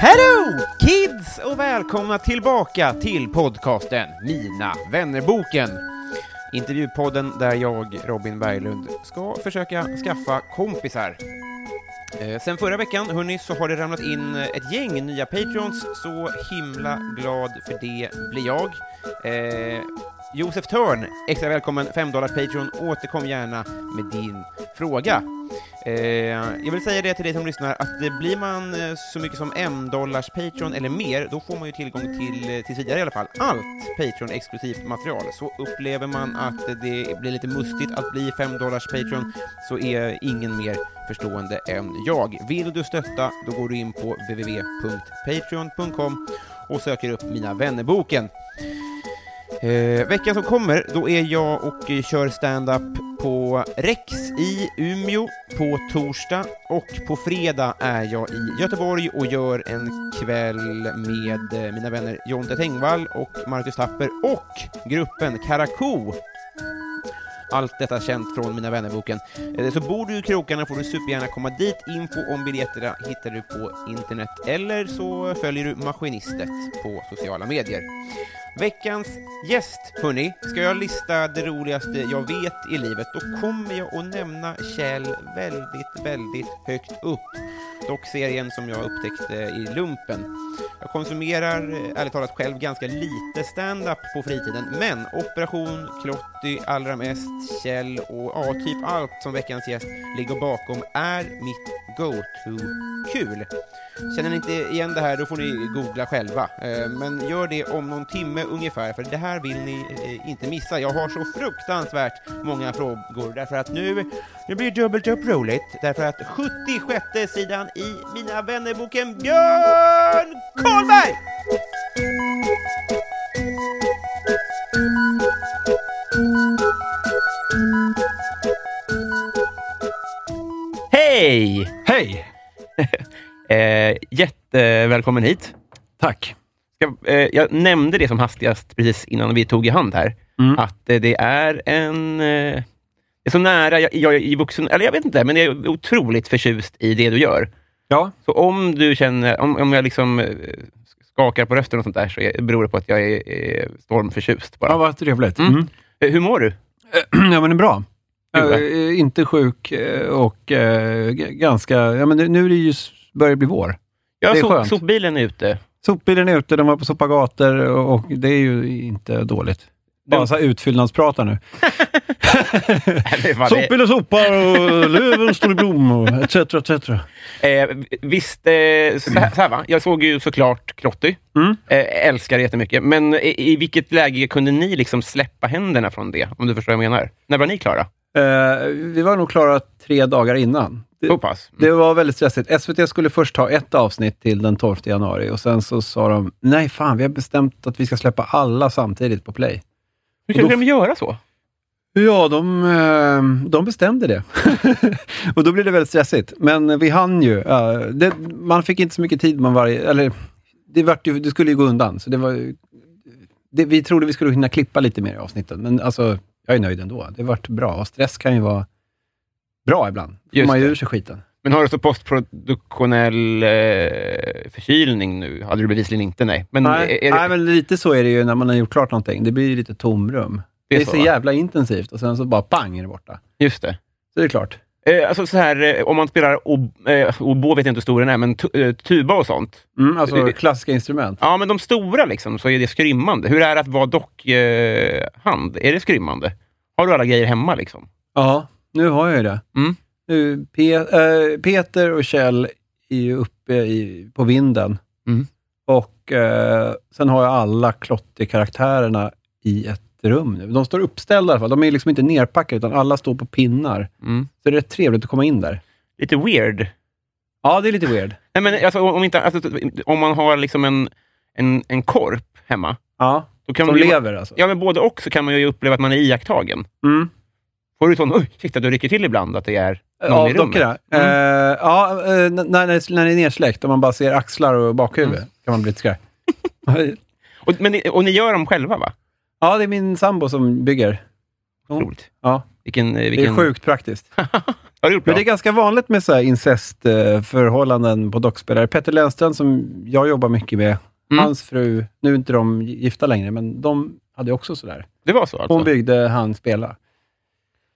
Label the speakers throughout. Speaker 1: Hello kids och välkomna tillbaka till podcasten Mina vännerboken. Intervjupodden där jag, Robin Berglund, ska försöka skaffa kompisar. Eh, sen förra veckan, hörni, så har det ramlat in ett gäng nya Patreons. Så himla glad för det blir jag. Eh, Josef Törn, extra välkommen, 5 Patreon. Återkom gärna med din fråga. Eh, jag vill säga det till dig som lyssnar, att eh, blir man eh, så mycket som 1 dollars Patreon eller mer, då får man ju tillgång till, eh, tills vidare i alla fall, allt Patreon-exklusivt material. Så upplever man att eh, det blir lite mustigt att bli 5 dollars Patreon, så är ingen mer förstående än jag. Vill du stötta, då går du in på www.patreon.com och söker upp Mina vännerboken. Eh, veckan som kommer, då är jag och eh, kör stand-up på Rex i Umeå på torsdag och på fredag är jag i Göteborg och gör en kväll med eh, mina vänner Jonte Tengvall och Marcus Tapper och gruppen Karakou. Allt detta känt från Mina vännerboken. Eh, Så bor du i krokarna får du supergärna komma dit. Info om biljetterna hittar du på internet eller så följer du Maskinistet på sociala medier. Veckans gäst, hörni, ska jag lista det roligaste jag vet i livet, då kommer jag att nämna Kjell väldigt, väldigt högt upp. Dock serien som jag upptäckte i lumpen. Jag konsumerar, eh, ärligt talat, själv ganska lite stand-up på fritiden, men Operation, Klotty, Allra mest, Kjell och ja, typ allt som veckans gäst ligger bakom är mitt go-to-kul. Känner ni inte igen det här, då får ni googla själva. Eh, Men gör det om någon timme ungefär, för det här vill ni eh, inte missa. Jag har så fruktansvärt många frågor, därför att nu, nu blir det dubbelt upp roligt, därför att 76 sidan i Mina vännerboken Björn Karlberg! Hej!
Speaker 2: Hej!
Speaker 1: Eh, jättevälkommen hit.
Speaker 2: Tack.
Speaker 1: Ska, eh, jag nämnde det som hastigast precis innan vi tog i hand här,
Speaker 2: Mm.
Speaker 1: att eh, det är en... Eh, det är så nära jag, jag är i vuxen... Eller jag vet inte, men jag är otroligt förtjust i det du gör.
Speaker 2: Ja,
Speaker 1: Så om du känner... Om, om jag liksom eh, skakar på rösten och sånt där, så är, beror det på att jag är, är stormförtjust bara.
Speaker 2: ja vad trevligt.
Speaker 1: Mm.
Speaker 2: Mm.
Speaker 1: Eh, Hur mår du?
Speaker 2: ja, men det är bra.
Speaker 1: Kul, va?
Speaker 3: eh,
Speaker 2: Jag är inte sjuk eh, och eh, g- ganska... Ja, men nu- nu är det ju, s- börjar det bli vår.
Speaker 1: Ja,
Speaker 2: Det är
Speaker 1: so,
Speaker 2: skönt.
Speaker 1: sopbilen är ute.
Speaker 2: Sopbilen är ute, de var på sopagator och och det är ju inte dåligt. Bara så här utfyllnadspratar nu.
Speaker 1: Eller vad det-
Speaker 2: Sopbilen sopar och löven står i blom och etc. etc.
Speaker 1: Eh, visst, eh, så, här, så här va. Jag såg ju såklart Klotty.
Speaker 2: Mm.
Speaker 1: Eh, älskar det jättemycket. Men i, i vilket läge kunde ni liksom släppa händerna från det? Om du förstår vad jag menar. När var ni klara?
Speaker 2: Eh, vi var nog klara tre dagar innan. Det,
Speaker 1: Så pass?
Speaker 2: Det var väldigt stressigt. SVT skulle först ha ett avsnitt till den 12 januari och sen så sa de, nej fan, vi har bestämt att vi ska släppa alla samtidigt på play.
Speaker 1: Hur kunde
Speaker 2: då-
Speaker 1: de göra så?
Speaker 2: Ja, de, eh, de bestämde det. och då blev det väldigt stressigt. Men vi hann ju. eh, Det, man fick inte så mycket tid. Man varje, eller, det, vart ju, det skulle ju gå undan. Så det var, ju- det, vi trodde vi skulle hinna klippa lite mer i avsnitten, men alltså, jag är nöjd ändå. Det vart bra. Och stress kan ju vara bra ibland. Då får
Speaker 1: Just
Speaker 2: man ju
Speaker 1: det. Mm,
Speaker 2: ur sig skiten.
Speaker 1: Men har du så postproduktionell eh, förkylning nu? Hade du bevisligen inte, nej. Men
Speaker 2: Nej,
Speaker 1: är, är,
Speaker 2: nej, men lite så är det ju när man har gjort klart någonting. Det blir ju lite tomrum.
Speaker 1: det är
Speaker 2: Det är
Speaker 1: så,
Speaker 2: så
Speaker 1: va?
Speaker 2: jävla intensivt och sen så bara pang är det borta.
Speaker 1: Just det.
Speaker 2: Så det är klart.
Speaker 3: Eh, alltså så här, eh, om man spelar ob, eh, obo, vet jag inte hur stor den är, men tu, eh, tuba och sånt.
Speaker 2: Mm, alltså
Speaker 3: Det-
Speaker 2: klassiska instrument.
Speaker 3: Ja, men de stora liksom, så är det skrymmande. Hur är det att vara dockhand? Eh, hand? är det skrymmande? Har du alla grejer hemma liksom?
Speaker 2: Ja, nu har jag ju det.
Speaker 3: Mm.
Speaker 2: Nu, Pe- eh, Peter och Kjell är ju uppe i, på vinden.
Speaker 3: Mm.
Speaker 2: Och eh, sen har jag alla klotterkaraktärerna i ett rum nu. De står uppställda i alla fall. De är liksom inte nerpackade, utan alla står på pinnar.
Speaker 3: Mm.
Speaker 2: Så det är rätt trevligt att komma in där.
Speaker 3: Lite weird.
Speaker 2: Ja, det är lite weird.
Speaker 3: Nej, men alltså, om, inte, alltså, om man har liksom en, en, en korp hemma.
Speaker 2: Ja,
Speaker 3: Då kan
Speaker 2: som
Speaker 3: man, ju-
Speaker 2: lever alltså.
Speaker 3: Ja, men både och så kan man ju uppleva att man är iakttagen.
Speaker 2: Mm.
Speaker 3: Får du sån, oj, shit, att du rycker till ibland att det är någon i
Speaker 2: Av
Speaker 3: rummet?
Speaker 2: dockorna?
Speaker 3: Mm.
Speaker 2: Eh, ja, eh, n- när, när, när det är nersläckt och man bara ser axlar och bakhuvud
Speaker 3: Mm.
Speaker 2: kan man bli lite skraj.
Speaker 3: Och, men, ni- och ni gör dem själva, va?
Speaker 2: ja, det är min sambo som bygger. Mm.
Speaker 3: Roligt.
Speaker 2: Ja,
Speaker 3: Vilken, eh,
Speaker 2: det är
Speaker 3: vilken...
Speaker 2: sjukt praktiskt.
Speaker 3: Har du gjort bra?
Speaker 2: Men det är ganska vanligt med så här incestförhållanden på dockspelare. Petter Lernström, som jag jobbar mycket med,
Speaker 3: Mm.
Speaker 2: hans fru, nu är inte de gifta längre, men de hade också sådär.
Speaker 3: Det var så alltså?
Speaker 2: Hon byggde, han spela.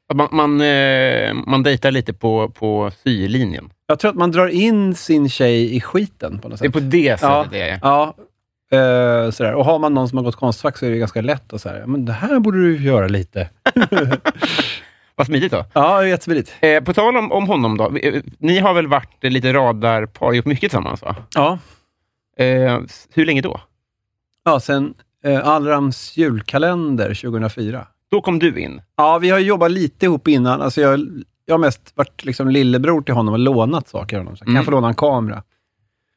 Speaker 3: Att man, man, eh, man dejtar lite på, på sylinjen.
Speaker 2: Jag tror att man drar in sin tjej i skiten på något
Speaker 3: Det är
Speaker 2: sätt.
Speaker 3: på det sättet
Speaker 2: Ja.
Speaker 3: det är.
Speaker 2: Ja, eh, sådär. Och har man någon som har gått konstfack så är det ganska lätt att säga, men det här borde du göra lite.
Speaker 3: Vad smidigt då.
Speaker 2: Ja, det är jättesmidigt.
Speaker 3: Eh, på tal om, om honom då. Vi- eh, Ni har väl varit eh, lite radarpar, gjort mycket tillsammans va?
Speaker 2: Ja.
Speaker 3: Eh, s- hur länge då?
Speaker 2: ja, sen eh, Allrams julkalender 2004.
Speaker 3: Då kom du in.
Speaker 2: Ja, vi har ju jobbat lite ihop innan. Alltså jag, jag har mest varit liksom lillebror till honom och lånat saker av honom. Så jag kan
Speaker 3: Mm.
Speaker 2: jag få låna en kamera?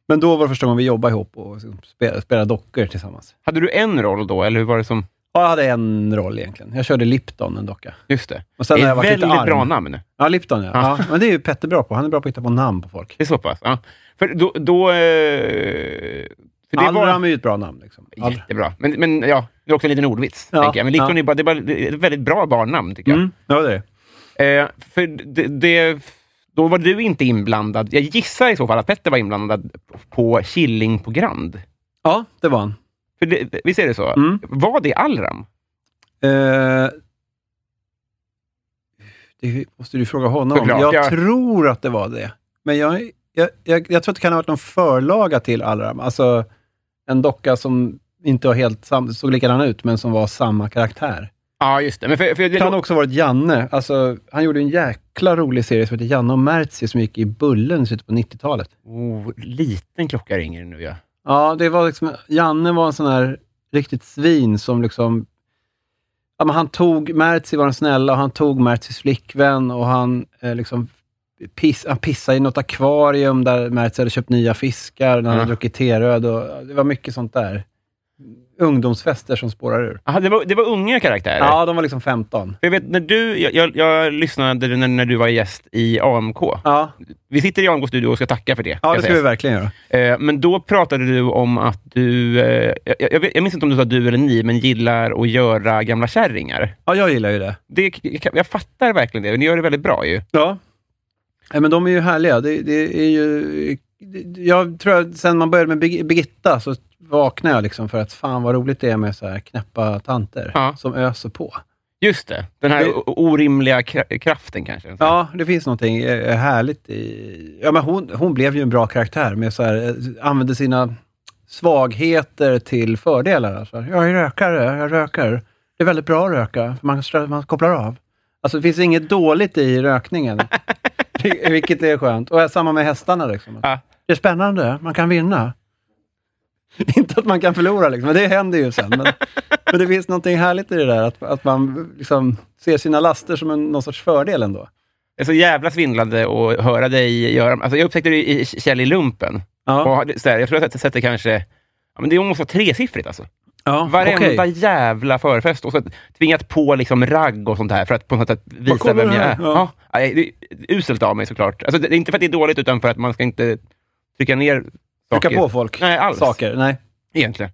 Speaker 2: Men då var det första gången vi jobbade ihop och liksom spelade, spelade dockor tillsammans.
Speaker 3: Hade du en roll då, eller hur var det som...
Speaker 2: Ja, jag hade en roll egentligen. Jag körde Lipton, en docka.
Speaker 3: Just det.
Speaker 2: Och sen
Speaker 3: det
Speaker 2: har
Speaker 3: är
Speaker 2: jag varit lite
Speaker 3: väldigt
Speaker 2: arg.
Speaker 3: bra namn.
Speaker 2: Ja, Lipton ja. ja. Men det är ju Petter bra på. Han är bra på att hitta på namn på folk.
Speaker 3: Det är så pass? Ja. För då... då eh, för det var-
Speaker 2: Allram är ju ett bra namn. Liksom. All...
Speaker 3: Jättebra. Men, men ja, det är också en liten ordvits.
Speaker 2: Ja,
Speaker 3: tänker jag. Men Litton
Speaker 2: ja.
Speaker 3: är, bara, det är, bara, det är ett väldigt bra barnnamn, tycker jag.
Speaker 2: Mm. Ja, det är det. Mm.
Speaker 3: Eh, för det, det, då var du inte inblandad. Jag gissar i så fall att Petter var inblandad på Killing på Grand.
Speaker 2: Ja, det var han.
Speaker 3: För det, visst är det så?
Speaker 2: Mm.
Speaker 3: Var det Allram?
Speaker 2: Eh, det måste du fråga honom om.
Speaker 3: Såklart,
Speaker 2: Jag
Speaker 3: ja.
Speaker 2: tror att det var det. Men jag, jag, jag, jag tror att det kan ha varit någon förlaga till Allram. Alltså en docka som inte var helt sam, såg likadan ut, men som var samma karaktär.
Speaker 3: Ja, just det. Men för, för det
Speaker 2: Det kan också ha varit Janne. Alltså, han gjorde en jäkla rolig serie som heter Janne och Merzi som gick i Bullen i slutet på 90-talet.
Speaker 3: oh, liten klocka ringer nu, ja.
Speaker 2: Ja, det var liksom, Janne var en sån här riktigt svin som liksom... Ja, men han tog, Mertzi var den snälla och han tog Mertzis flickvän och han eh, liksom piss, han pissade i något akvarium där Mertzi hade köpt nya fiskar när han
Speaker 3: Ja.
Speaker 2: hade druckit teröd. Och, ja, det var mycket sånt där. Ungdomsfester som spårar ur.
Speaker 3: Aha, det, var, det var unga karaktärer.
Speaker 2: Ja, de var liksom 15.
Speaker 3: För Jag, vet, när du, jag, jag, jag lyssnade när, när du var gäst i AMK.
Speaker 2: Ja,
Speaker 3: Vi sitter i AMK-studio och ska tacka för det.
Speaker 2: ja
Speaker 3: ska
Speaker 2: det ska
Speaker 3: sägas.
Speaker 2: vi verkligen göra.
Speaker 3: Eh, Men då pratade du om att du, eh, jag, jag, vet- jag minns inte om du sa du eller ni, men gillar att göra gamla kärringar.
Speaker 2: Ja, jag gillar ju det.
Speaker 3: Det, jag- jag fattar verkligen det, ni gör det väldigt bra ju.
Speaker 2: Ja. Nej, men de är ju härliga. Det, det är ju... det- Jag tror att sen man började med Birg- Birgitta så vaknade jag liksom för att fan vad roligt det är med så här knäppa tanter
Speaker 3: Ja.
Speaker 2: som öser på.
Speaker 3: Just det, den här
Speaker 2: Det-
Speaker 3: o- orimliga kra- kraften kanske.
Speaker 2: Ja, det finns någonting eh, härligt i... Ja, men hon, hon blev ju en bra karaktär med så här, eh, använde sina svagheter till fördelar. Alltså, jag är rökare, jag röker. Det är väldigt bra att röka, för man, strö- man kopplar av. Alltså det finns inget dåligt i rökningen, vilket är skönt. Och samma med hästarna. Liksom.
Speaker 3: Ja.
Speaker 2: Det är spännande, man kan vinna. Inte att man kan förlora, liksom, men det händer ju sen. Men, men det finns någonting härligt i det där, att, att man liksom ser sina laster som en, någon sorts fördel ändå.
Speaker 3: Jag är så jävla svindlande att höra dig göra alltså, Jag upptäckte det i i Kjell i lumpen.
Speaker 2: Ja,
Speaker 3: Och det- så här, jag tror att jag sett- sett det kanske, ja, men det måste vara tresiffrigt alltså.
Speaker 2: ja
Speaker 3: Varenda
Speaker 2: okej.
Speaker 3: jävla förfest. Och så tvingat på liksom ragg och sånt här för att på något sätt visa
Speaker 2: kolla
Speaker 3: vem
Speaker 2: det
Speaker 3: jag
Speaker 2: här.
Speaker 3: är. Ja.
Speaker 2: Ja.
Speaker 3: nej, det är uselt av mig såklart. Alltså, det är inte för att det är dåligt, utan för att man ska inte trycka ner saker.
Speaker 2: Trycka på folk
Speaker 3: Nej, alls.
Speaker 2: saker. Nej.
Speaker 3: Egentligen.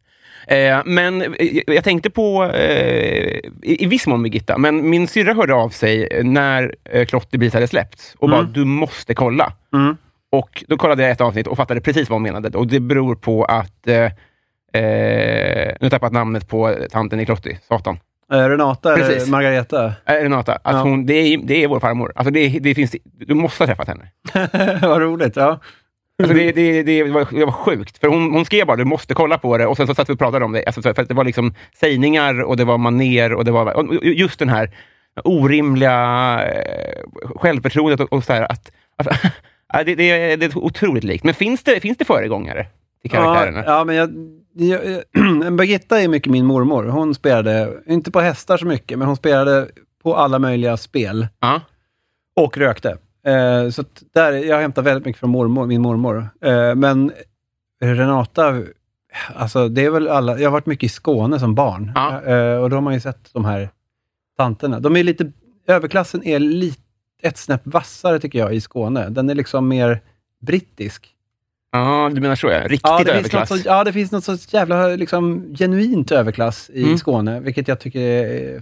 Speaker 3: Eh, men eh, jag tänkte på, eh, i, i viss mån Birgitta, men min syrra hörde av sig när eh, Klotterbis hade släppts och bara, du måste kolla.
Speaker 2: Mm.
Speaker 3: Och då kollade jag ett avsnitt och fattade precis vad hon menade. Och det beror på att... Eh, eh, nu har jag tappat namnet på tanten i Klotty, Satan.
Speaker 2: Eh, Renata eller
Speaker 3: Precis.
Speaker 2: Margareta?
Speaker 3: Eh, Renata, att
Speaker 2: Ja.
Speaker 3: hon, det, är, det är vår farmor. Alltså det, det finns, du måste ha träffat henne.
Speaker 2: Vad roligt. Ja.
Speaker 3: Alltså det, det, det, var, det var sjukt. För hon, hon skrev bara du måste kolla på det och sen så satt vi och pratade om det. Alltså, för att det var liksom sägningar och det var maner och det var och just den här orimliga eh, självförtroendet och, och så här att, att ja, det, det, det är otroligt likt. Men finns det, finns det föregångare till karaktärerna?
Speaker 2: Ja, ja, men jag, jag, jag, Birgitta är mycket min mormor. Hon spelade, inte på hästar så mycket, men hon spelade på alla möjliga spel
Speaker 3: Ja.
Speaker 2: och rökte. Eh, så att där, jag hämtar väldigt mycket från mormor, min mormor. Eh, men Renata, alltså det är väl alla, jag har varit mycket i Skåne som barn
Speaker 3: Ja.
Speaker 2: eh, och då har man ju sett de här tanterna. De är lite, överklassen är lite, ett snäpp vassare tycker jag i Skåne. Den är liksom mer brittisk.
Speaker 3: Ja, du menar så ja. Riktigt
Speaker 2: Ja det, finns något
Speaker 3: överklass.
Speaker 2: så, ja, det finns något så jävla liksom, genuint överklass i
Speaker 3: Mm.
Speaker 2: Skåne, vilket jag tycker är eh,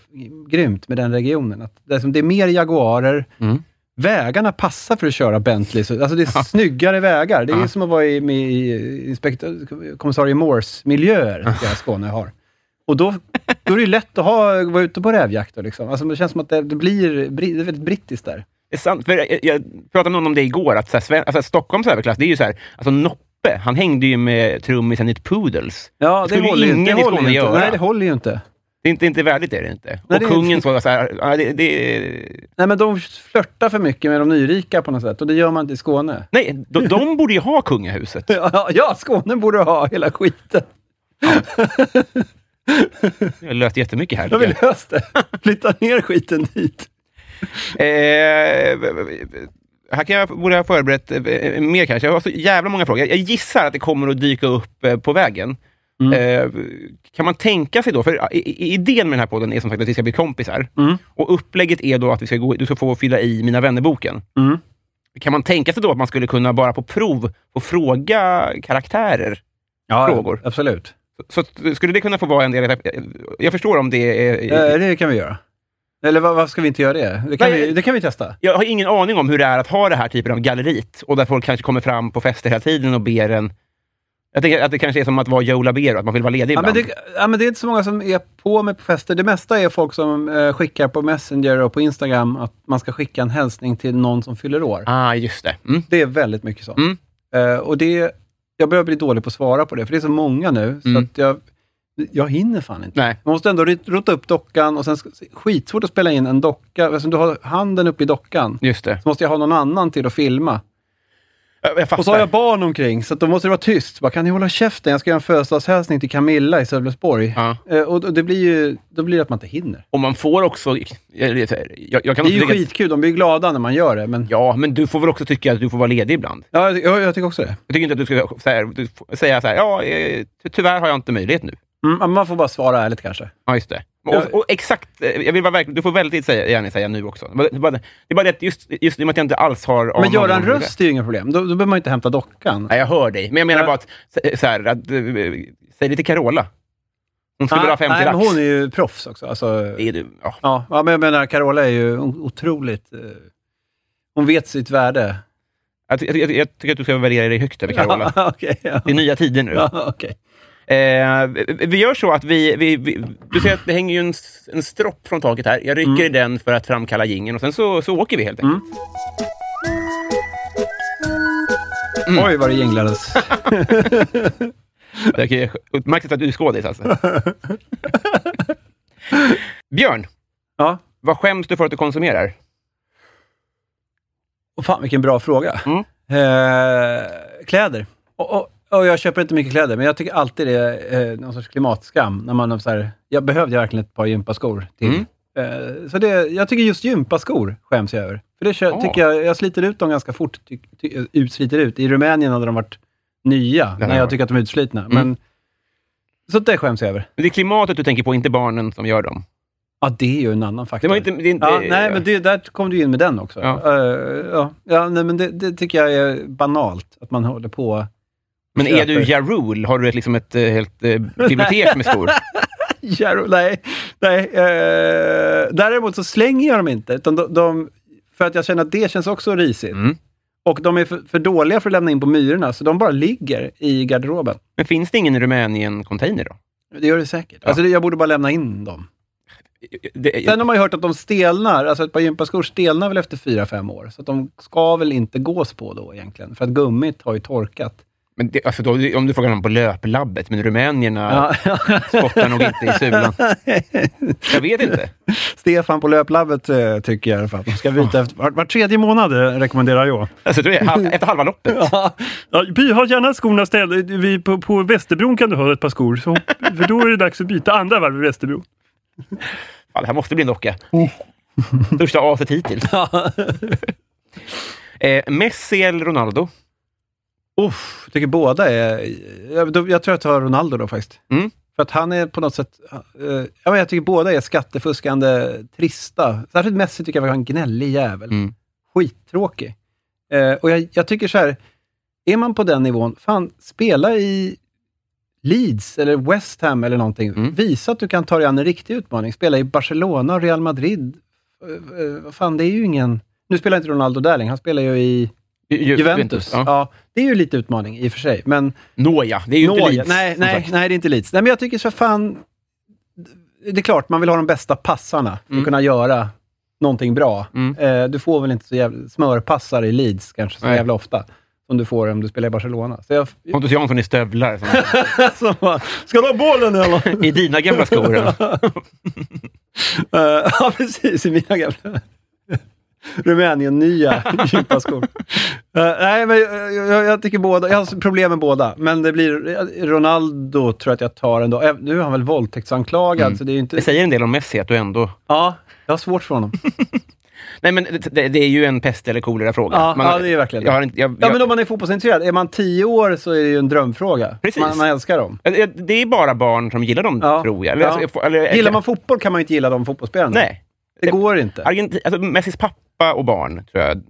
Speaker 2: grymt med den regionen. Att det, är som, det är mer Jaguarer,
Speaker 3: Mm.
Speaker 2: vägarna passar för att köra Bentley. Så, alltså det är snyggare vägar. Det är
Speaker 3: Ja.
Speaker 2: som att vara i, med, i inspektör, kommissarie Morse-miljöer, tycker jag Skåne har. Och då, då är det ju lätt att ha, vara ute på rävjakt. Då, liksom. alltså, det känns som att det, det blir bri- det är väldigt brittiskt där.
Speaker 3: Det är sant, för jag, jag pratade med någon om det igår, att så här, Sven, alltså, Stockholms överklass, det är ju så här, alltså Noppe, han hängde ju med trummisen i Poodles.
Speaker 2: Ja,
Speaker 3: skulle ju
Speaker 2: ju-
Speaker 3: ingen i
Speaker 2: håller
Speaker 3: Skåne
Speaker 2: ju inte.
Speaker 3: göra.
Speaker 2: Nej, det håller ju inte.
Speaker 3: Det är inte, inte värdigt, det är det inte.
Speaker 2: Nej,
Speaker 3: och
Speaker 2: det är-
Speaker 3: kungen så, så här, ja, det, det,
Speaker 2: Nej, men de flörtar för mycket med de nyrika på något sätt och det gör man inte i Skåne.
Speaker 3: nej, de, de borde ju ha kungahuset.
Speaker 2: Ja, ja Skåne borde ha hela skiten.
Speaker 3: Jag har löst jättemycket här.
Speaker 2: Då har vi löst det. Flytta ner skiten dit.
Speaker 3: Eh, här kan jag, borde jag ha förberett eh, mer kanske. Jag har så jävla många frågor. Jag gissar att det kommer att dyka upp eh, på vägen.
Speaker 2: Mm.
Speaker 3: Eh, kan man tänka sig då, för eh, i- i- idén med den här podden är som sagt att vi ska bli kompisar.
Speaker 2: Mm.
Speaker 3: Och upplägget är då att vi ska gå, du ska få fylla i Mina vännerboken.
Speaker 2: Mm.
Speaker 3: Kan man tänka sig då att man skulle kunna bara på prov få fråga karaktärer?
Speaker 2: Ja,
Speaker 3: Frågor.
Speaker 2: Absolut.
Speaker 3: Så att- skulle det kunna få vara en del... Jag förstår om det är...
Speaker 2: Eh, det kan vi göra. Eller va- varför ska vi inte göra det? Det kan,
Speaker 3: Nej,
Speaker 2: vi, det kan vi testa.
Speaker 3: Jag har ingen aning om hur det är att ha det här typen av galleriet och där folk kanske kommer fram på fester hela tiden och ber en... Jag tänker att det kanske är som att vara Joe Labero, att man vill vara ledig
Speaker 2: Ja men,
Speaker 3: ibland.
Speaker 2: det, ja, men det är inte så många som är på med på fester. Det mesta är folk som eh, skickar på Messenger och på Instagram att man ska skicka en hälsning till någon som fyller år.
Speaker 3: Ah, just det. Mm.
Speaker 2: Det är väldigt mycket sånt.
Speaker 3: Mm.
Speaker 2: Eh, och det, jag börjar bli dålig på att svara på det, för det är så många nu,
Speaker 3: Mm.
Speaker 2: så att jag, jag hinner fan inte.
Speaker 3: Nej.
Speaker 2: Man måste ändå rit- rota upp dockan och sen ska- skitsvårt att spela in en docka. Eftersom du har handen uppe i dockan,
Speaker 3: Just det.
Speaker 2: så måste jag ha någon annan till att filma.
Speaker 3: Jag, jag fattar.
Speaker 2: Och så har jag barn omkring, så att då måste det vara tyst. Bara, kan ni hålla käften? Jag ska göra en födelsedagshälsning till Camilla i Sölvesborg.
Speaker 3: Ja.
Speaker 2: Eh, och och det blir ju, då blir det att man inte hinner.
Speaker 3: Och man får också... Jag, jag, jag, jag kan
Speaker 2: Det är ju
Speaker 3: också tycka-
Speaker 2: skitkul, de blir ju glada när man gör det. Men, ja.
Speaker 3: Ja, men du får väl också tycka att du får vara ledig ibland.
Speaker 2: jag, jag tycker också det.
Speaker 3: Jag tycker inte att du ska så här, du får säga så här, ja, eh, ty- tyvärr har jag inte möjlighet nu.
Speaker 2: Mm, men man får bara svara ärligt kanske.
Speaker 3: Ja, just det. Och, och exakt, eh, jag vill vara verkligen, du får väldigt säga, gärna säga nu också. Det är bara det, är bara det att just, just i och med att jag inte alls har... aning
Speaker 2: Men
Speaker 3: om
Speaker 2: göra en
Speaker 3: vad det är.
Speaker 2: röst är ju inga problem. Då, då behöver man ju inte hämta dockan.
Speaker 3: Nej, jag hör dig. Men jag menar
Speaker 2: Ja.
Speaker 3: bara att, så- så här, att, eh, säg det till Carola. Hon skulle ha 50
Speaker 2: Ah, nej, men
Speaker 3: lax.
Speaker 2: hon är ju proffs också. Alltså,
Speaker 3: Det är du. Ja.
Speaker 2: ja, ja, men jag menar, Carola är ju o- otroligt... eh, hon vet sitt värde.
Speaker 3: Jag, ty- jag, ty- jag tycker att du ska värdera dig högt över Carola.
Speaker 2: Okej, ja.
Speaker 3: Det är nya tider nu.
Speaker 2: Ja, okej.
Speaker 3: Eh, vi- vi gör så att vi, vi, vi... Du ser att det hänger ju en, s- en stropp från taket här. Jag rycker i
Speaker 2: Mm.
Speaker 3: den för att framkalla jingeln och sen så, så åker vi helt enkelt. Mm.
Speaker 2: Oj, vad det jinglades.
Speaker 3: Jag kan utmärkt att du är skådis alltså. Björn,
Speaker 2: ja.
Speaker 3: vad skäms du för att du konsumerar?
Speaker 2: Och fan, vilken bra fråga.
Speaker 3: Mm.
Speaker 2: Eh, kläder. Och, och, och jag köper inte mycket kläder, men jag tycker alltid det är eh, någon sorts klimatskam. När man har så här, jag behövde verkligen ett par gympaskor till.
Speaker 3: Mm.
Speaker 2: Eh, så det, jag tycker just gympaskor skäms jag över. För det kö,
Speaker 3: Ah.
Speaker 2: tycker jag, jag sliter ut dem ganska fort. Ty, ty, utsliter ut. I Rumänien hade de varit nya,
Speaker 3: Den här
Speaker 2: när
Speaker 3: Mm.
Speaker 2: jag
Speaker 3: var-
Speaker 2: tycker att de är utslitna. Men, så det skäms jag över.
Speaker 3: Men Det är klimatet du tänker på, inte barnen som gör dem.
Speaker 2: Ja, det är ju en annan faktor.
Speaker 3: Det var inte... Det är inte
Speaker 2: Ja, nej, men det, där kom du in med den också.
Speaker 3: Ja.
Speaker 2: Eh, ja. Ja, nej, men det, det tycker jag är banalt, att man håller på...
Speaker 3: Men är du
Speaker 2: köper.
Speaker 3: Ja Rule? Har du ett, liksom ett eh, helt eh, bibliotek med skor?
Speaker 2: Jarro, nej, nej. eh, däremot så slänger jag dem inte, utan de, de, för att jag känner att det känns också risigt.
Speaker 3: Mm.
Speaker 2: Och de är för, för dåliga för att lämna in på myrorna, så de bara ligger i garderoben.
Speaker 3: Men finns det ingen Rumänien-container då?
Speaker 2: Det gör det säkert.
Speaker 3: Ja.
Speaker 2: Alltså, det- jag borde bara lämna in dem.
Speaker 3: det,
Speaker 2: Sen har man ju hört att de stelnar, alltså ett par gympaskor stelnar väl efter fyra fem år, så att de ska väl inte gås på då egentligen, för att gummit har ju torkat.
Speaker 3: men det, alltså då, om du frågar någon på löplabbet, men rumänierna
Speaker 2: Ja.
Speaker 3: spottar nog inte i sulan. Jag vet inte.
Speaker 2: Stefan på löplabbet eh, tycker jag i alla fall att de ska byta efter, var, var tredje månad, eh, rekommenderar jag.
Speaker 3: Alltså, jag tror det är halv, efter halva loppet.
Speaker 4: Ja, by, ha gärna skorna ställ. Vi på, på Västerbron kan du ha ett par skor. Så, för då är det dags att byta andra varv i Västerbron.
Speaker 3: Ja, det här måste bli en docka. Största aset hittills. eh, Messi eller Ronaldo?
Speaker 2: Uff, jag tycker båda är... Jag, då- jag tror jag tar Ronaldo då faktiskt.
Speaker 3: Mm.
Speaker 2: För att han är på något sätt... eh, ja, men jag tycker båda är skattefuskande trista. Särskilt Messi tycker jag var en gnällig jävel.
Speaker 3: Mm.
Speaker 2: Skittråkig. Eh, och jag, jag tycker så här, är man på den nivån, fan, spela i Leeds eller West Ham eller någonting.
Speaker 3: Mm.
Speaker 2: Visa att du kan ta dig an en riktig utmaning. Spela i Barcelona, Real Madrid. Eh, eh, Vad fan, det är ju ingen... Nu spelar inte Ronaldo där längre, han spelar ju i...
Speaker 3: Ju- ju-
Speaker 2: Juventus.
Speaker 3: Ja.
Speaker 2: Ja. det är ju lite utmaning i och för sig. Men
Speaker 3: Nåja, det är ju
Speaker 2: Nåja,
Speaker 3: inte Leeds.
Speaker 2: nej,
Speaker 3: som
Speaker 2: nej,
Speaker 3: sagt.
Speaker 2: nej, det är inte Leeds. Nej, men jag tycker så fan... Det är klart, man vill ha de bästa passarna för
Speaker 3: Mm.
Speaker 2: att kunna göra någonting bra.
Speaker 3: Mm.
Speaker 2: Eh, du får väl inte så jävla smörpassar i Leeds kanske så
Speaker 3: Nej.
Speaker 2: jävla ofta som du får om du spelar i Barcelona. Så jag,
Speaker 3: Pontus Jansson i stövlar. som-
Speaker 2: som bara, ska du ha bollen eller?
Speaker 3: I dina gamla skor. ja.
Speaker 2: Eh, ja, precis. I mina gamla Rumänien-nya gympaskor. Eh, nej, men jag, jag, jag tycker båda. Jag har problem med båda, men det blir... eh, Ronaldo tror jag att jag tar ändå. Även- Nu är han väl våldtäktsanklagad, så det är ju inte...
Speaker 3: Det Mm. säger en del om Messi att du ändå...
Speaker 2: Ja, jag har svårt för honom.
Speaker 3: Nej, men det, det- det är ju en pest eller kolera-fråga.
Speaker 2: Ja,
Speaker 3: Man-
Speaker 2: ja, det är verkligen det.
Speaker 3: jag har inte, jag,
Speaker 2: Ja,
Speaker 3: jag,
Speaker 2: men om man är fotbollsintresserad, är man tio år så är det ju en drömfråga.
Speaker 3: Precis.
Speaker 2: Man, man älskar dem.
Speaker 3: Eh, Det är bara barn som gillar dem,
Speaker 2: Ja.
Speaker 3: tror jag. Eller,
Speaker 2: Ja.
Speaker 3: alltså, jag får- eller,
Speaker 2: Gillar man fotboll kan man ju inte gilla de fotbollsspelarna.
Speaker 3: Nej.
Speaker 2: Det går inte.
Speaker 3: Argenti- alltså, Messis pappa och barn, tror jag,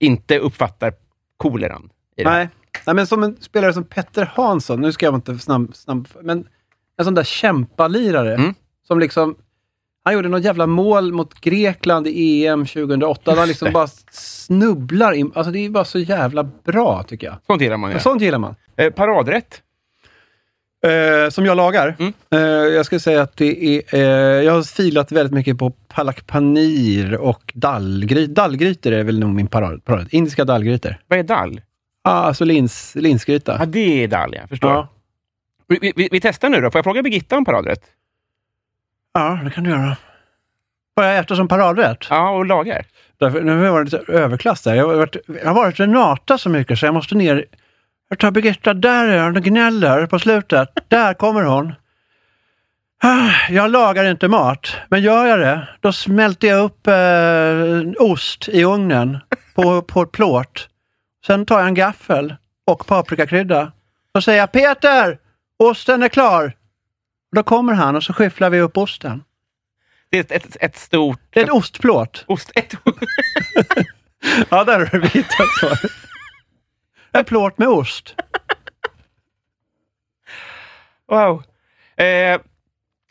Speaker 3: inte uppfattar koleran. i det.
Speaker 2: Nej. Nej, men som en spelare som Petter Hansson, nu ska jag inte snabb, snabb men en sån där kämpalirare
Speaker 3: Mm.
Speaker 2: som liksom, han gjorde något jävla mål mot Grekland i EM 2008, där han liksom bara snubblar in. Alltså det är bara så jävla bra tycker jag.
Speaker 3: Sånt gillar man ju.
Speaker 2: Men Sånt gillar man.
Speaker 3: Eh, paradrätt?
Speaker 2: Eh, som jag lagar?
Speaker 3: Mm.
Speaker 2: Eh, jag skulle säga att det är... Eh, jag har filat väldigt mycket på palak panir och dallgry, dallgrytor. är väl nog min parad. parad. Indiska dallgrytor.
Speaker 3: Vad är dall?
Speaker 2: Ah, alltså lins, linsgryta.
Speaker 3: Ja, det är dall, jag förstår.
Speaker 2: Ja.
Speaker 3: Vi, vi- vi, vi testar nu då. Får jag fråga Birgitta om paradrätt?
Speaker 2: Ja, det kan du göra. Får jag äta som paradrätt?
Speaker 3: Ja, och lagar.
Speaker 2: Därför, nu har jag varit lite överklass där. Jag har varit, jag har varit Renata så mycket så jag måste ner. Jag tar Birgitta, där är hon och gnäller på slutet. Där kommer hon. Ah, Jag lagar inte mat, men gör jag det, då smälter jag upp eh, ost i ugnen på, på ett plåt. Sen tar jag en gaffel och paprikakrydda. Då säger jag Peter, osten är klar. Då kommer han och så skyfflar vi upp osten.
Speaker 3: Det är ett, ett, ett stort...
Speaker 2: Det är ett ostplåt.
Speaker 3: Ost, ett,
Speaker 2: Ja, där har du hittat svaret. En plåt med ost.
Speaker 3: wow. Eh,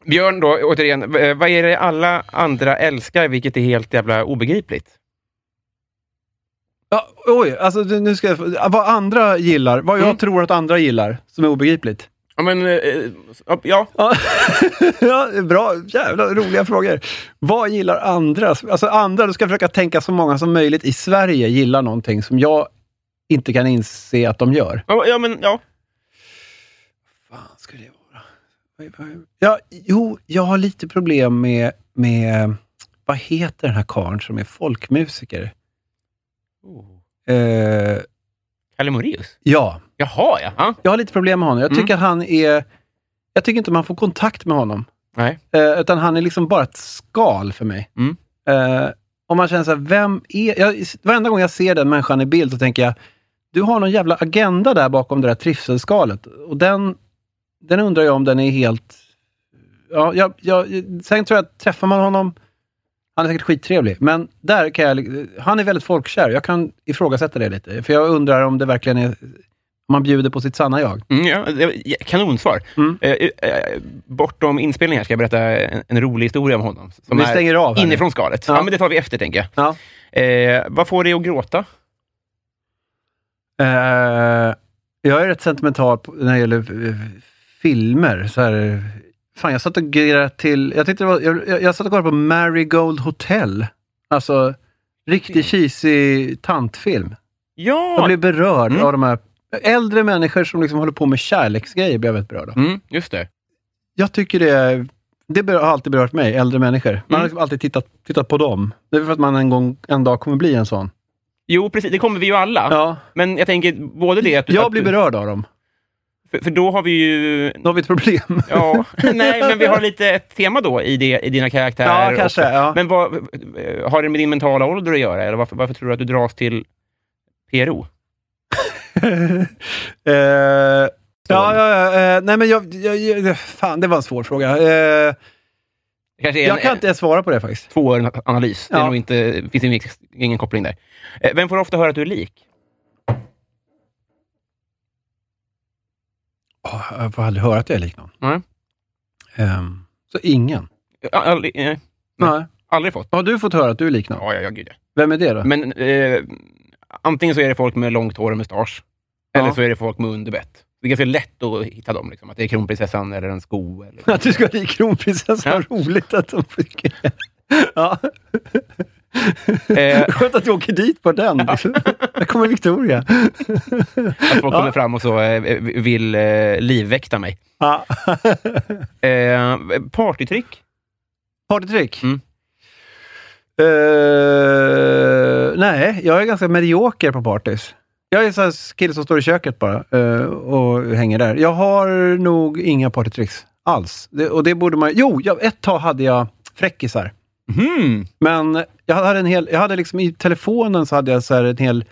Speaker 3: Björn då, återigen. eh, Vad är det alla andra älskar, vilket är helt jävla obegripligt?
Speaker 2: Ja, oj, alltså du- nu ska jag, vad andra gillar, vad jag
Speaker 3: Mm.
Speaker 2: tror att andra gillar, som är obegripligt.
Speaker 3: Ja, men... eh, Ja.
Speaker 2: Ja, ja, bra, jävla roliga frågor. Vad gillar andra? Alltså andra, du ska försöka tänka så många som möjligt i Sverige gillar någonting som jag inte kan inse att de gör.
Speaker 3: Ja, ja, men ja.
Speaker 2: fan skulle det vara? Vad- vad- Ja, jo, jag har lite problem med, med... Vad heter den här karln som är folkmusiker? Eh,
Speaker 3: Kalle Moraeus?
Speaker 2: ja,
Speaker 3: Jaha, ja. ja.
Speaker 2: jag har lite problem med honom. Jag
Speaker 3: Mm.
Speaker 2: tycker att han är... Jag tycker inte man får kontakt med honom.
Speaker 3: Nej.
Speaker 2: Eh, utan han är liksom bara ett skal för mig.
Speaker 3: Mm.
Speaker 2: Eh, och man känner så här, vem är... Jag, varenda gång jag ser den människan i bild så tänker jag, du har någon jävla agenda där bakom det där trivselskalet. Och den, den undrar jag om den är helt... Ja, jag, jag, sen tror jag att träffar man honom, han är säkert skittrevlig, men där kan jag... Han är väldigt folkkär. Jag kan ifrågasätta det lite. För jag undrar om det verkligen är... Om man bjuder på sitt sanna jag.
Speaker 3: Mm, ja, det var- ja, kanonsvar.
Speaker 2: Mm.
Speaker 3: Eh, eh, bortom inspelningen här ska jag berätta en, en rolig historia om honom. Som
Speaker 2: Vi
Speaker 3: är
Speaker 2: stänger av här nu.
Speaker 3: Inifrån skalet. Ja.
Speaker 2: Ja.
Speaker 3: men det tar vi efter, tänker jag.
Speaker 2: Ja.
Speaker 3: Eh, vad får dig att gråta?
Speaker 2: Eh, jag är rätt sentimental på- när det gäller eh, filmer. Så här, Fan, jag satt och grejade till... Jag, tyckte det var, jag, jag, jag satt och kollade på Marigold Hotel. Alltså, riktig cheesy tantfilm. Jag
Speaker 3: Ja!
Speaker 2: blev berörd
Speaker 3: Mm.
Speaker 2: av de här äldre människor som liksom håller på med kärleksgrejer. Blev jag väldigt berörd av.
Speaker 3: Mm, just det.
Speaker 2: Jag tycker det, är- det ber- har alltid berört mig, äldre människor. Man har
Speaker 3: Mm.
Speaker 2: liksom alltid tittat, tittat på dem. Det är för att man en, gång, en dag kommer bli en sån.
Speaker 3: Jo, precis. Det kommer vi ju alla.
Speaker 2: Ja,
Speaker 3: Men jag tänker både det att du...
Speaker 2: jag
Speaker 3: att
Speaker 2: blir
Speaker 3: du-
Speaker 2: berörd av dem.
Speaker 3: För, för då har vi ju...
Speaker 2: Då har vi ett problem.
Speaker 3: Ja, nej, men vi har lite ett tema då i, det, i dina karaktärer.
Speaker 2: Ja, kanske, ja.
Speaker 3: Men vad, eh, har det med din mentala ålder att göra? Eller varför, varför tror du att du dras till PRO?
Speaker 2: Eh, ja, ja, ja, eh, nej men jag, jag, jag... Fan, det var en svår fråga. Eh,
Speaker 3: Det kanske är
Speaker 2: jag
Speaker 3: en,
Speaker 2: kan inte ens svara på det faktiskt.
Speaker 3: tvåårig analys. Det är
Speaker 2: Ja.
Speaker 3: nog inte, finns ingen, ingen koppling där. Eh, Vem får ofta höra att du är lik?
Speaker 2: Åh, jag får aldrig höra att jag är lik någon.
Speaker 3: Nej.
Speaker 2: Ehm, så ingen?
Speaker 3: Eh, Aldrig, eh, Nej.
Speaker 2: Nej.
Speaker 3: aldrig fått?
Speaker 2: Har du fått höra att du är lik någon?
Speaker 3: Ja, ja, ja, gud ja.
Speaker 2: Vem är det då?
Speaker 3: Men eh, antingen så är det folk med långt hår och mustasch, eller
Speaker 2: Ja.
Speaker 3: så är det folk med underbett. Det är ganska lätt att hitta dem. Liksom. Att det är kronprinsessan eller en sko. Eller...
Speaker 2: Att du ska bli kronprinsessa, vad roligt att de tycker. Ja.
Speaker 3: Eh,
Speaker 2: Skönt att du åker dit på den. Där kommer Victoria.
Speaker 3: Att folk kommer fram och så eh, vill eh, livväkta mig.
Speaker 2: Ja.
Speaker 3: Eh, partytrick?
Speaker 2: Partytrick?
Speaker 3: Mm.
Speaker 2: Eh, nej, jag är ganska medioker på partys. Jag är en sån här kille som står i köket bara eh, och hänger där. Jag har nog inga partytricks alls. Det, och det borde man... Jo, jag, ett tag hade jag fräckisar.
Speaker 3: Mhm.
Speaker 2: Men jag hade en hel, jag hade liksom i telefonen så hade jag så här en hel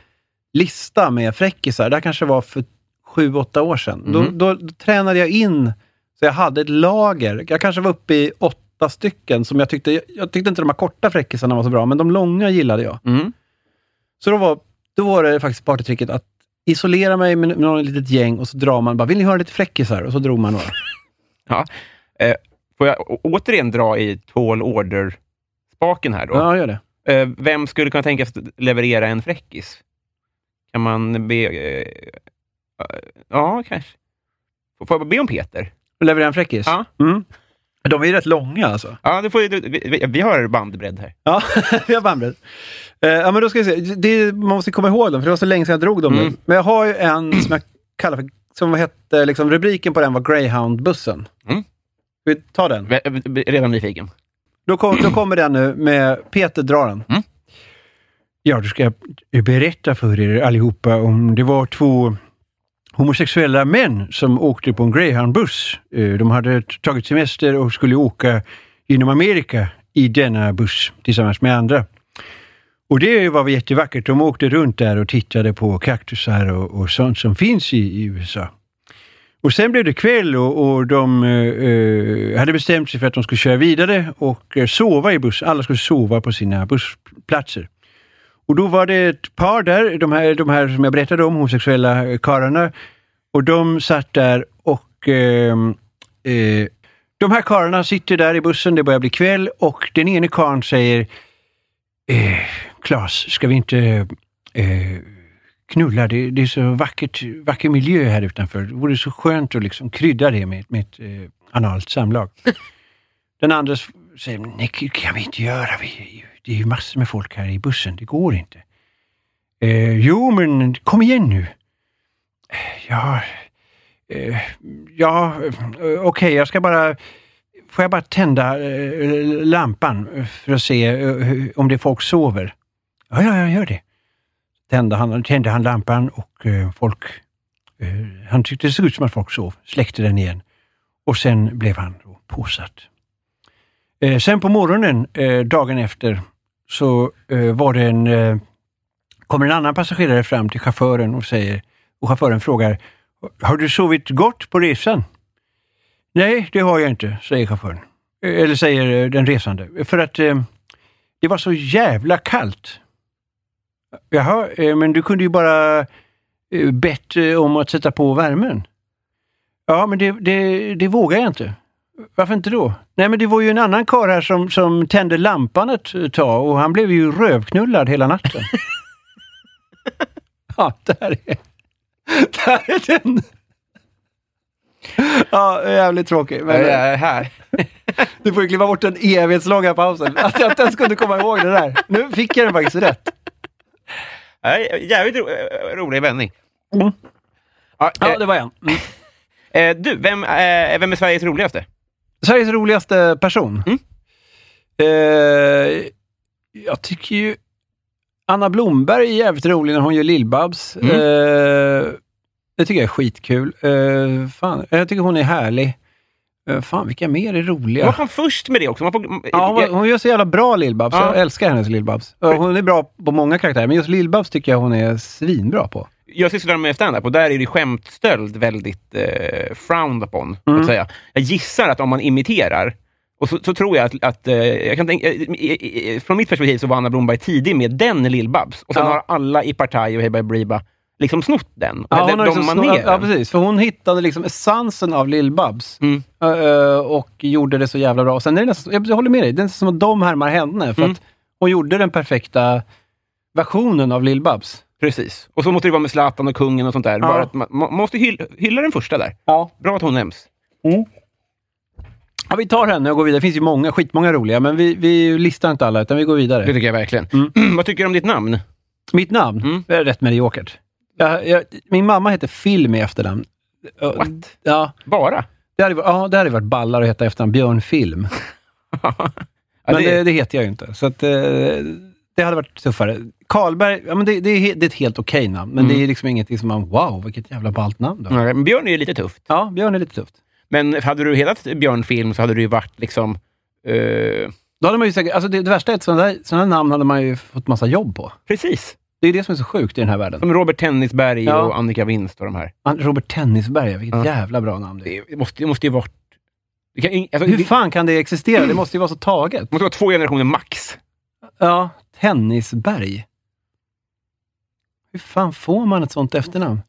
Speaker 2: lista med fräckisar. Det här kanske var för sju, åtta år sedan.
Speaker 3: Mhm.
Speaker 2: Då, då, då tränade jag in, så jag hade ett lager. Jag kanske var uppe i åtta stycken som jag tyckte, jag, jag tyckte inte de här korta fräckisarna var så bra, men de långa gillade jag.
Speaker 3: Mm.
Speaker 2: Så då var, då var det faktiskt partytricket att isolera mig med, med något litet gäng och så drar man bara, vill ni höra lite fräckisar? Och så drog man några.
Speaker 3: Ja. Eh, får jag å- återigen dra i tall order-spaken här då?
Speaker 2: Ja, gör det.
Speaker 3: Eh, vem skulle kunna tänkas leverera en fräckis? Kan man be... Eh, eh, ja, kanske. Får får jag be om Peter?
Speaker 2: Leverera en fräckis?
Speaker 3: Ja.
Speaker 2: Mm. De är ju rätt långa alltså.
Speaker 3: Ja, du får, ju- du, vi, vi har bandbredd här.
Speaker 2: Ja, vi har bandbredd. Eh, ja, men då ska vi se. Det, man måste komma ihåg dem, för det var så länge sedan jag drog dem
Speaker 3: Mm.
Speaker 2: nu. Men jag har ju en som jag kallar för, som hette, liksom, rubriken på den var Greyhound-bussen.
Speaker 3: Mm.
Speaker 2: Ska vi ta den?
Speaker 3: Vä- eh, Redan nyfiken.
Speaker 2: Då, kom, då kommer den nu med Peter drar den.
Speaker 3: Mm.
Speaker 2: Ja, då ska jag berätta för er allihopa om det var två homosexuella män som åkte på en greyhoundbuss. Eh, De hade t- tagit semester och skulle åka genom Amerika i denna buss tillsammans med andra. Och det var jättevackert. De åkte runt där och tittade på kaktusar och, och sånt som finns i, i USA. Och sen blev det kväll och, och de eh, eh, hade bestämt sig för att de skulle köra vidare och eh, sova i bussen. Alla skulle sova på sina bussplatser. Och då var det ett par där, de här, de här som jag berättade om, homosexuella eh, karlarna. Och de satt där och... ehm, eh, de här karlarna sitter där i bussen, det börjar bli kväll och den ene karln säger eh, Klas, ska vi inte... Eh, knulla. Det, det är så vackert, vacker miljö här utanför. Det vore så skönt att liksom krydda det med, med ett eh, analt samlag. Den andra s- säger, nej, det kan vi inte göra. Vi, är ju- det är ju massor med folk här i bussen. Det går inte. Eh, jo, men kom igen nu. "Eh, Ja, eh, ja eh, okej, jag ska bara... Får jag bara tända eh, lampan för att se eh, hur- om det är folk sover? Ja, ja, jag gör det tände han, tände han lampan och eh, folk... Eh, han tyckte det såg ut som att folk sov, släckte den igen. Och sen blev han då påsatt. Eh, sen på morgonen, eh, dagen efter, så eh, var det en... Eh, kommer en annan passagerare fram till chauffören och säger... Och chauffören frågar, har du sovit gott på resan? Nej, det har jag inte, säger chauffören. Eh, Eller säger eh, den resande. För att eh, det var så jävla kallt. Jaha, eh, men du kunde ju bara eh, bett eh, om att sätta på värmen. Ja, men det, det, det vågar jag inte. Varför inte då? Nej, men det var ju en annan karl här som, som tände lampan ett eh, tag och han blev ju rövknullad hela natten. ja, där är, där är den. Ja, jävligt tråkig. Men eh,
Speaker 3: Jag är här.
Speaker 2: du får ju kliva bort den evighetslånga pausen. Att jag inte ens kunde komma ihåg det där. Nu fick jag den faktiskt rätt.
Speaker 3: Nej, Jävligt ro, eh, rolig vändning.
Speaker 2: Mm.
Speaker 3: Ja, eh,
Speaker 2: var en. Mm.
Speaker 3: eh, du, vem, eh, vem är Sveriges roligaste?
Speaker 2: Sveriges roligaste person?
Speaker 3: Mm.
Speaker 2: Eh, jag tycker ju Anna Blomberg är jävligt rolig när hon gör Lill-Babs.
Speaker 3: Mm.
Speaker 2: Eh, det tycker jag är skitkul. Eh, fan, jag tycker hon är härlig. Eh, fan, vilka mer är
Speaker 3: Ja.
Speaker 2: roliga?
Speaker 3: Var han först med det också? Man får,
Speaker 2: Ja, hon, var- hon gör så jävla bra Lill-Babs.
Speaker 3: Ja.
Speaker 2: Jag älskar hennes Lill-Babs. Eh, Hon är bra på många karaktärer, men just Lill-Babs tycker jag hon är svinbra på.
Speaker 3: jag sysslar med stand-up och där är det skämtstöld väldigt eh, frowned upon.
Speaker 2: Mm.
Speaker 3: Att säga. Jag gissar att om man imiterar, och så, så tror jag att... att eh, jag kan tänka, eh, eh, eh, från mitt perspektiv så var Anna Blomberg tidig med den Lill-Babs. Och sen
Speaker 2: Ja.
Speaker 3: har alla i Partaj och Hey Bye Briba liksom snott den.
Speaker 2: Ja,
Speaker 3: Eller
Speaker 2: hon har
Speaker 3: de
Speaker 2: liksom
Speaker 3: maneren.
Speaker 2: snor- ja, precis. För hon hittade liksom essensen av Lill-Babs
Speaker 3: Mm.
Speaker 2: Ö, ö, och gjorde det så jävla bra. Och sen är det nästan, jag håller med dig, det är nästan som att de härmar henne, för
Speaker 3: Mm.
Speaker 2: att hon gjorde den perfekta versionen av Lill-Babs.
Speaker 3: Precis. Och så måste det vara med Zlatan och kungen och sånt där. Bara att man, man måste hylla, hylla den första där.
Speaker 2: Ja.
Speaker 3: Bra att hon nämns.
Speaker 2: vi tar henne och går vidare. Det finns ju många, skitmånga roliga, men vi, vi listar inte alla, utan vi går vidare.
Speaker 3: Det tycker jag verkligen.
Speaker 2: Mm.
Speaker 3: Vad tycker du om ditt namn?
Speaker 2: Mitt namn
Speaker 3: Mm.
Speaker 2: är rätt mediokert. Jag, jag, min mamma heter Film i efternamn. Ö,
Speaker 3: What?
Speaker 2: Ja,
Speaker 3: Bara?
Speaker 2: det hade, varit- ja, det hade varit ballar att heta efternamn Björn Film.
Speaker 3: Ja,
Speaker 2: men eh,
Speaker 3: det-
Speaker 2: det, det heter jag ju inte. Så att, eh, det hade varit tuffare. Karlberg, ja, men det, det, är, he- det är ett helt okej namn, men
Speaker 3: Mm.
Speaker 2: det är liksom ingenting som man, wow, vilket jävla ballt namn då.
Speaker 3: Nej, men Björn är ju lite tufft.
Speaker 2: Ja, Björn är lite tufft.
Speaker 3: Men hade du hetat Björn Film så hade du ju varit liksom... eh,
Speaker 2: Då hade man ju säkert, alltså det, det värsta är att sådana, där, sådana namn hade man ju fått massa jobb på.
Speaker 3: precis.
Speaker 2: Det är det som är så sjukt i den här världen.
Speaker 3: Som Robert Tennisberg
Speaker 2: Ja.
Speaker 3: och Annika Winst och de här.
Speaker 2: Han- Robert Tennisberg, vilket
Speaker 3: Ja.
Speaker 2: jävla bra namn det är.
Speaker 3: Det måste, det måste ju varit... Det, kan, alltså,
Speaker 2: Hur
Speaker 3: det
Speaker 2: fan kan det existera? Det måste ju vara så taget.
Speaker 3: måste vara två generationer max.
Speaker 2: Ja, Tennisberg. Hur fan får man ett sånt efternamn?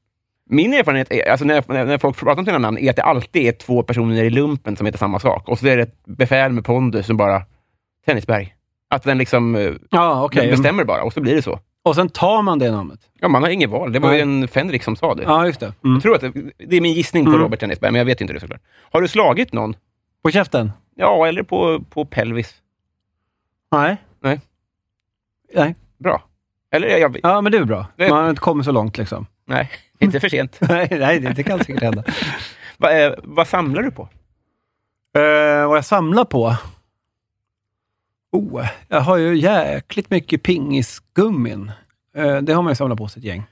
Speaker 3: Min erfarenhet, är, alltså när, när när folk pratar om sina namn, är att det alltid är två personer i lumpen som heter samma sak. Och så är det ett befäl med pondus som bara... Tennisberg. Att den liksom eh,
Speaker 2: Ja, okej.
Speaker 3: bestämmer bara, och så blir det så.
Speaker 2: Och sen tar man det namnet.
Speaker 3: Ja, man har inget val. Det var ju
Speaker 2: Nej.
Speaker 3: en Fendrik som sa det.
Speaker 2: Ja, just det. Mm.
Speaker 3: Jag tror att det, det är min gissning på
Speaker 2: Mm.
Speaker 3: Robert Tennisberg, men jag vet inte det såklart. Har du slagit någon?
Speaker 2: På käften?
Speaker 3: Ja, eller på, på pelvis.
Speaker 2: Nej.
Speaker 3: Nej.
Speaker 2: Nej.
Speaker 3: Bra. Eller jag, jag,
Speaker 2: Ja, men det är väl bra.
Speaker 3: Det-
Speaker 2: Man har inte kommit så långt liksom.
Speaker 3: Nej, inte för sent.
Speaker 2: nej, nej, det det kan säkert hända.
Speaker 3: Va, eh, vad samlar du på?
Speaker 2: Eh, vad jag samlar på? Oh, jag har ju jäkligt mycket pingisgummin. Eh, det har man ju samlat på sig ett gäng.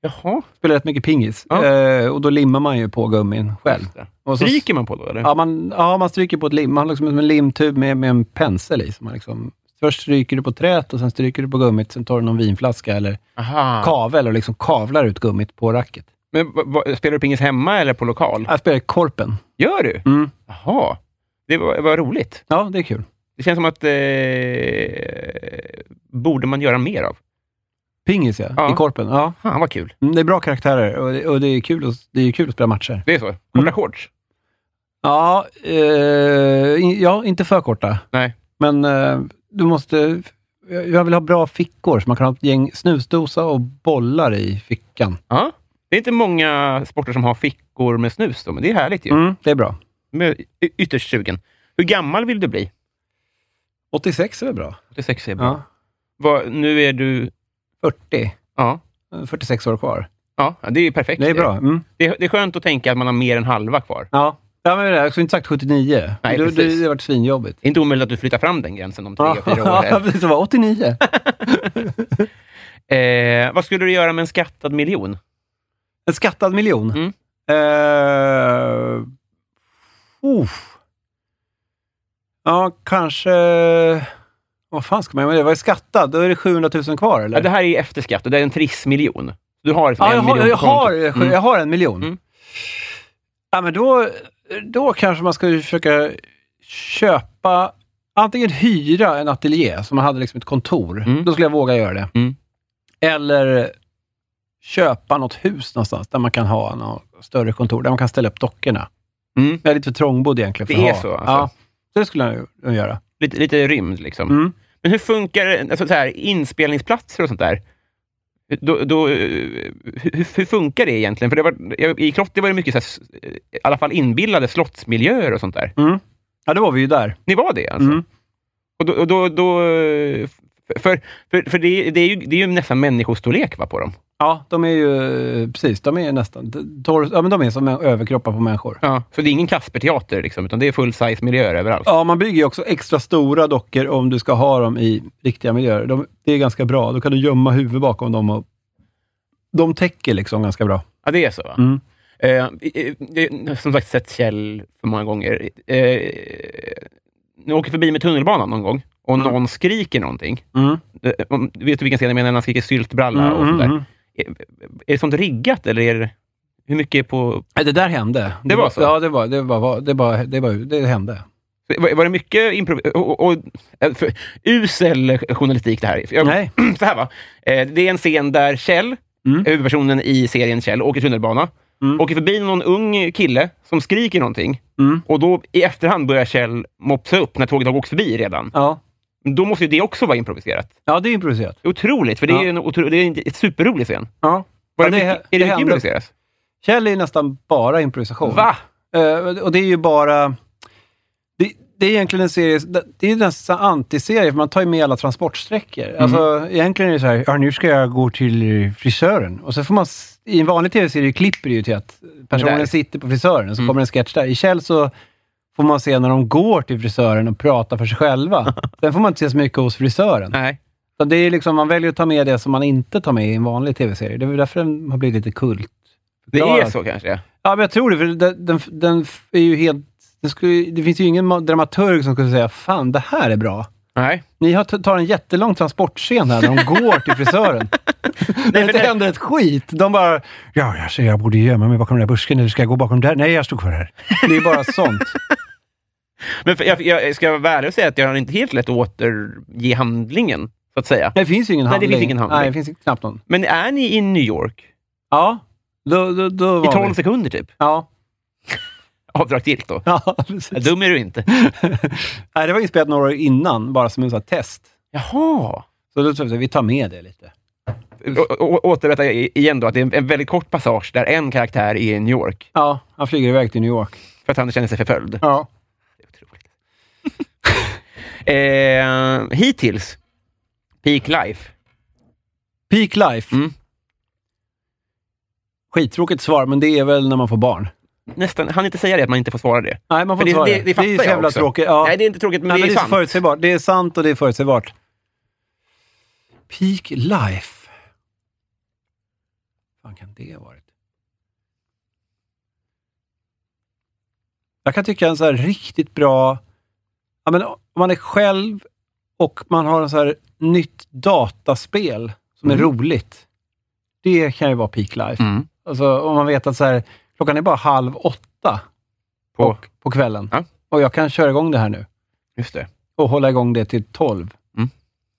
Speaker 3: Jaha.
Speaker 2: Spelar rätt mycket pingis.
Speaker 3: Ja.
Speaker 2: Eh, och då limmar man ju på gummin själv.
Speaker 3: Just det.
Speaker 2: Och så-
Speaker 3: Stryker man på då, eller?
Speaker 2: Ja man, ja, man stryker på ett lim. Man har liksom en limtub med, med en pensel i. Som man liksom, först stryker du på träet och sen stryker du på gummit. Sen tar du någon vinflaska eller
Speaker 3: Aha.
Speaker 2: kavel och liksom kavlar ut gummit på racket.
Speaker 3: Men, va, va, spelar du pingis hemma eller på lokal?
Speaker 2: Jag spelar i Korpen.
Speaker 3: Gör du?
Speaker 2: Mm.
Speaker 3: Jaha. Det var, var roligt.
Speaker 2: Ja, det är kul.
Speaker 3: Det känns som att... Eh, borde man göra mer av.
Speaker 2: Pingis ja,
Speaker 3: Ja.
Speaker 2: i Korpen. Ja.
Speaker 3: Fan, vad kul.
Speaker 2: Mm, Det är bra karaktärer och det, och det, är, kul att, det är kul att spela matcher.
Speaker 3: Det är så? Korta
Speaker 2: Mm.
Speaker 3: shorts?
Speaker 2: Ja, eh, in, ja, inte för korta.
Speaker 3: Nej.
Speaker 2: Men eh, du måste... Jag jag vill ha bra fickor, så man kan ha ett gäng snusdosa och bollar i fickan.
Speaker 3: Ja. Det är inte många sporter som har fickor med snus, då, men det är härligt ju.
Speaker 2: Mm, det är bra.
Speaker 3: Men jag är y- ytterst sugen. Hur gammal vill du bli?
Speaker 2: 86 är väl bra?
Speaker 3: 86 är bra.
Speaker 2: Ja.
Speaker 3: Vad- nu är du...
Speaker 2: 40.
Speaker 3: Ja.
Speaker 2: eh, 46 år kvar.
Speaker 3: Ja, det är ju perfekt.
Speaker 2: Det är bra. Mm.
Speaker 3: Det, det är skönt att tänka att man har mer än halva kvar.
Speaker 2: Ja. ja, men det är jag skulle inte sagt 79.
Speaker 3: Nej,
Speaker 2: det, det,
Speaker 3: precis.
Speaker 2: det har varit svinjobbigt.
Speaker 3: Det är inte omöjligt att du flyttar fram den gränsen om tre,
Speaker 2: Ja,
Speaker 3: fyra år.
Speaker 2: ja,
Speaker 3: eller?
Speaker 2: precis. Det var 89.
Speaker 3: Eh, vad skulle du göra med en skattad miljon?
Speaker 2: En skattad miljon?
Speaker 3: Mm.
Speaker 2: Eh, uff. Ja, kanske... Vad fan ska man göra med det? Vad är skattad? Då är det 700 000 kvar, eller?
Speaker 3: Ja, det här är efterskatt och det är en trissmiljon. Du har liksom
Speaker 2: Ja,
Speaker 3: en
Speaker 2: jag, har,
Speaker 3: miljon
Speaker 2: jag,
Speaker 3: på kontot.
Speaker 2: har, jag har en miljon.
Speaker 3: Mm.
Speaker 2: Ja, men då, då kanske man ska ju försöka köpa, antingen hyra en ateljé, som man hade liksom ett kontor.
Speaker 3: Mm.
Speaker 2: Då skulle jag våga göra det.
Speaker 3: Mm.
Speaker 2: Eller köpa något hus någonstans, där man kan ha något större kontor, där man kan ställa upp dockorna.
Speaker 3: Mm.
Speaker 2: Jag är lite för trångbodd egentligen för
Speaker 3: Det
Speaker 2: att
Speaker 3: är så,
Speaker 2: ha.
Speaker 3: alltså.
Speaker 2: Ja, det skulle jag nog göra.
Speaker 3: Lite, lite rymd liksom.
Speaker 2: Mm.
Speaker 3: Men hur funkar alltså, så här, inspelningsplatser och sånt där? då, då, eh, hur, hur funkar det egentligen? För det var, I Klotter var det mycket, så här, s- eh, i alla fall inbillade slottsmiljöer och sånt där.
Speaker 2: Ja, då var vi ju där.
Speaker 3: Ni var det alltså?
Speaker 2: Mm.
Speaker 3: Och då, och då, då, eh, för för, för det, är- det, är ju, det är ju nästan människostorlek va, på dem.
Speaker 2: Ja, de är ju... Precis, de är nästan... Tor, ja, men de är som en- överkroppar på människor.
Speaker 3: Ja. Så det är ingen Kasperteater, liksom, utan det är full-size-miljöer överallt.
Speaker 2: Ja, man bygger ju också extra stora dockor om du ska ha dem i riktiga miljöer. De, det är ganska bra. Då kan du gömma huvudet bakom dem. Och, de täcker liksom ganska bra.
Speaker 3: Ja, det är så va?
Speaker 2: Mm.
Speaker 3: Eh, eh, eh, som sagt, sett Kjell för många gånger. Eh, nu åker förbi med tunnelbanan någon gång och någon skriker någonting.
Speaker 2: Mm.
Speaker 3: Eh, om- vet du vilken scen jag menar? När han skriker syltbralla och
Speaker 2: Mm,
Speaker 3: sånt där. Eh,
Speaker 2: mm,
Speaker 3: Är det sånt riggat eller är det, hur mycket är på...
Speaker 2: Nej, Det där hände.
Speaker 3: Det var så?
Speaker 2: Ja, det, var, det, var, det, var, det, var, det hände.
Speaker 3: Var, var det mycket improv... Och, och, eh, för, usel journalistik det här. För Jag,
Speaker 2: Nej.
Speaker 3: Så här va. Eh, det är en scen där Kjell,
Speaker 2: Mm.
Speaker 3: huvudpersonen i serien Kjell, åker tunnelbana.
Speaker 2: Mm.
Speaker 3: Åker förbi någon ung kille som skriker någonting.
Speaker 2: Mm.
Speaker 3: Och då i efterhand börjar Kjell mopsa upp när tåget har åkt förbi redan.
Speaker 2: Ja.
Speaker 3: Då måste ju det också vara improviserat.
Speaker 2: ja, det är improviserat.
Speaker 3: Otroligt, för det är
Speaker 2: Ja.
Speaker 3: ju en, otro, det är en superrolig scen.
Speaker 2: Ja.
Speaker 3: Var
Speaker 2: Ja,
Speaker 3: det,
Speaker 2: det-
Speaker 3: mycket,
Speaker 2: det
Speaker 3: är det mycket
Speaker 2: händer.
Speaker 3: improviserat?
Speaker 2: Kjell är ju nästan bara improvisation.
Speaker 3: Va?
Speaker 2: Eh, och det är ju bara... Det, det är egentligen en serie, det är ju nästan antiserie, för man tar ju med alla transportsträckor.
Speaker 3: Mm.
Speaker 2: Alltså, egentligen är det så här, ja, nu ska jag gå till frisören. Och så får man, s- i en vanlig tv-serie klipper det ju till att personen
Speaker 3: Där. Mm.
Speaker 2: sitter på frisören och så kommer en sketch där. I Kjell så får man se när de går till frisören och pratar för sig själva. Sen får man inte se så mycket hos frisören.
Speaker 3: Nej.
Speaker 2: Så det är liksom, man väljer att ta med det som man inte tar med i en vanlig tv-serie. Det är väl därför den har blivit lite kult.
Speaker 3: Det är
Speaker 2: Förklarad.
Speaker 3: så kanske?
Speaker 2: Ja, men jag tror det. För den, den, den f- är ju helt... Den skulle, det finns ju ingen ma- dramaturg som skulle säga fan, det här är bra.
Speaker 3: Nej.
Speaker 2: Ni har t- tar en jättelång transportscen här när de går till frisören. Nej,
Speaker 3: för
Speaker 2: det
Speaker 3: det-
Speaker 2: händer ett skit. De bara, ja, alltså, jag borde gömma mig bakom den där busken, eller ska jag gå bakom där? Nej, jag stod kvar här. Det är bara sånt.
Speaker 3: Men för, jag, jag ska vara ärlig och säga att jag har inte helt lätt att återge handlingen, så att säga.
Speaker 2: Det finns ju ingen
Speaker 3: Nej, det
Speaker 2: handling.
Speaker 3: finns ingen handling.
Speaker 2: Nej, det finns knappt någon.
Speaker 3: Men är ni i New York?
Speaker 2: Ja, då, då, då var
Speaker 3: I 12
Speaker 2: vi.
Speaker 3: sekunder typ?
Speaker 2: Ja.
Speaker 3: Avdragsgillt då?
Speaker 2: ja
Speaker 3: Ja,
Speaker 2: precis.
Speaker 3: Dum är du inte.
Speaker 2: Nej, det var inspelat några år innan, bara som en sån här test.
Speaker 3: Jaha.
Speaker 2: Så då tror jag att vi tar med det lite.
Speaker 3: Å- å- Återberätta i- igen då, att det är en, en väldigt kort passage där en karaktär är i New York,
Speaker 2: Ja, han flyger iväg till New York.
Speaker 3: för att han känner sig förföljd.
Speaker 2: Ja.
Speaker 3: Otroligt. eh, hittills, Peak Life.
Speaker 2: Peak life.
Speaker 3: Mm.
Speaker 2: Skittråkigt svar, men det är väl när man får barn.
Speaker 3: Nästan, han inte säga det, att man inte får svara det.
Speaker 2: Nej, man
Speaker 3: För
Speaker 2: får inte
Speaker 3: det,
Speaker 2: svara
Speaker 3: det, det fattar
Speaker 2: är så
Speaker 3: jag
Speaker 2: jävla
Speaker 3: också.
Speaker 2: tråkigt. Ja.
Speaker 3: Nej, det är inte tråkigt, men
Speaker 2: Nej,
Speaker 3: det är
Speaker 2: men det är så
Speaker 3: sant.
Speaker 2: förutsägbart. Det är sant och det är förutsägbart. Peak life. Vad fan kan det ha varit? Jag kan tycka en så här riktigt bra... Ja, men om man är själv och man har en så här nytt dataspel som är roligt. Det kan ju vara peak life.
Speaker 3: Mm.
Speaker 2: Alltså om man vet att så här, klockan är bara halv åtta
Speaker 3: På,
Speaker 2: och, på kvällen.
Speaker 3: Ja.
Speaker 2: Och jag kan köra igång det här nu
Speaker 3: Just det.
Speaker 2: och hålla igång det till 12.
Speaker 3: Mm.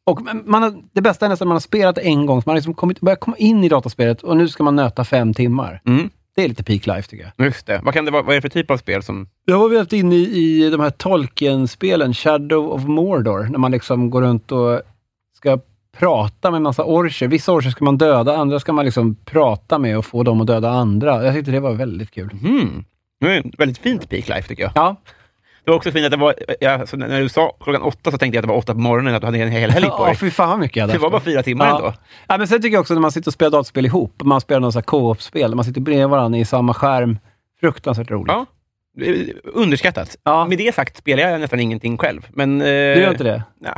Speaker 2: Och men man har, det bästa är nästan att man har spelat en gång, så man har liksom kommit, börjat komma in i dataspelet och nu ska man nöta fem timmar.
Speaker 3: Mm.
Speaker 2: Det är lite peak life tycker jag.
Speaker 3: Just det. Vad, kan det vara, vad är det för typ av spel som...
Speaker 2: Jag var vävt in i, i de här Tolkien-spelen, Shadow of Mordor, när man liksom går runt och ska prata med en massa orcher. Vissa orcher ska man döda, andra ska man liksom prata med och få dem att döda andra. Jag tyckte det var väldigt kul.
Speaker 3: Mm. Det är ett väldigt fint Peak Life, tycker jag.
Speaker 2: Ja,
Speaker 3: Det var också fint att det var... Ja, så när när du sa klockan åtta så tänkte jag att det var åtta på morgonen, att du hade en hel helg på
Speaker 2: ja
Speaker 3: dig.
Speaker 2: fy fan vad mycket jag hade
Speaker 3: Det var
Speaker 2: haft.
Speaker 3: bara fyra timmar
Speaker 2: ja.
Speaker 3: ändå.
Speaker 2: Ja, men sen tycker jag också när man sitter och spelar dataspel ihop, man spelar någon sån här co-op-spel, där man sitter bredvid varandra i samma skärm. Fruktansvärt roligt.
Speaker 3: Ja. Eh, Underskattat.
Speaker 2: Ja.
Speaker 3: Med det sagt spelar jag nästan ingenting själv. Men, eh,
Speaker 2: Du gör inte det?
Speaker 3: Nej.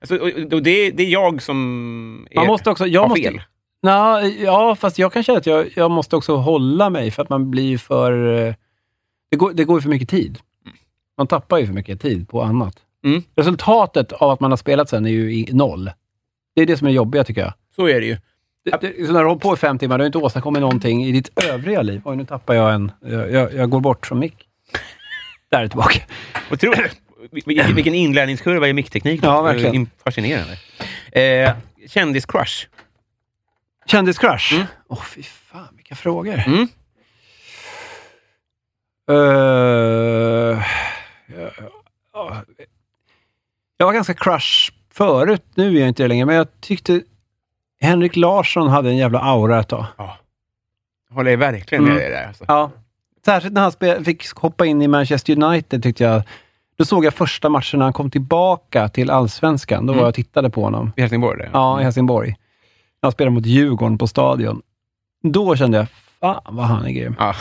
Speaker 3: Alltså, och, och det, det är jag som är,
Speaker 2: Man måste också... Jag
Speaker 3: har
Speaker 2: måste,
Speaker 3: fel.
Speaker 2: Nå, ja, fast jag kan känna att jag, jag måste också hålla mig, för att man blir ju för... eh, Det går, det går ju för mycket tid. Man tappar ju för mycket tid på annat.
Speaker 3: Mm.
Speaker 2: Resultatet av att man har spelat sen är ju i noll. Det är det som är jobbiga, tycker jag.
Speaker 3: Så är det ju.
Speaker 2: Det, det, så när du håller på i fem timmar, du har inte åstadkommit någonting i ditt övriga liv. Oj, nu tappar jag en. Jag, jag, jag går bort från mick. Där är jag tillbaka.
Speaker 3: Och tro, vilken, vilken inlärningskurva i mickteknik.
Speaker 2: Ja, verkligen.
Speaker 3: Eh, Fascinerande. Eh, Kändiscrush.
Speaker 2: Kändiscrush? Åh, fy fan vilka frågor.
Speaker 3: Mm.
Speaker 2: Eh, ja, ja. jag var ganska crush förut, nu är jag inte det längre, men jag tyckte Henrik Larsson hade en jävla aura ett tag.
Speaker 3: Håller jag verkligen med
Speaker 2: Mm.
Speaker 3: dig där. Alltså.
Speaker 2: Ja. Särskilt när han spe- fick hoppa in i Manchester United tyckte jag. Då såg jag första matchen när han kom tillbaka till Allsvenskan. Då var
Speaker 3: Mm.
Speaker 2: jag och tittade på honom.
Speaker 3: I Helsingborg? Där.
Speaker 2: Ja, i Helsingborg. När han spelade mot Djurgården på Stadion. Då kände jag, fan vad han är grym.
Speaker 3: Ja.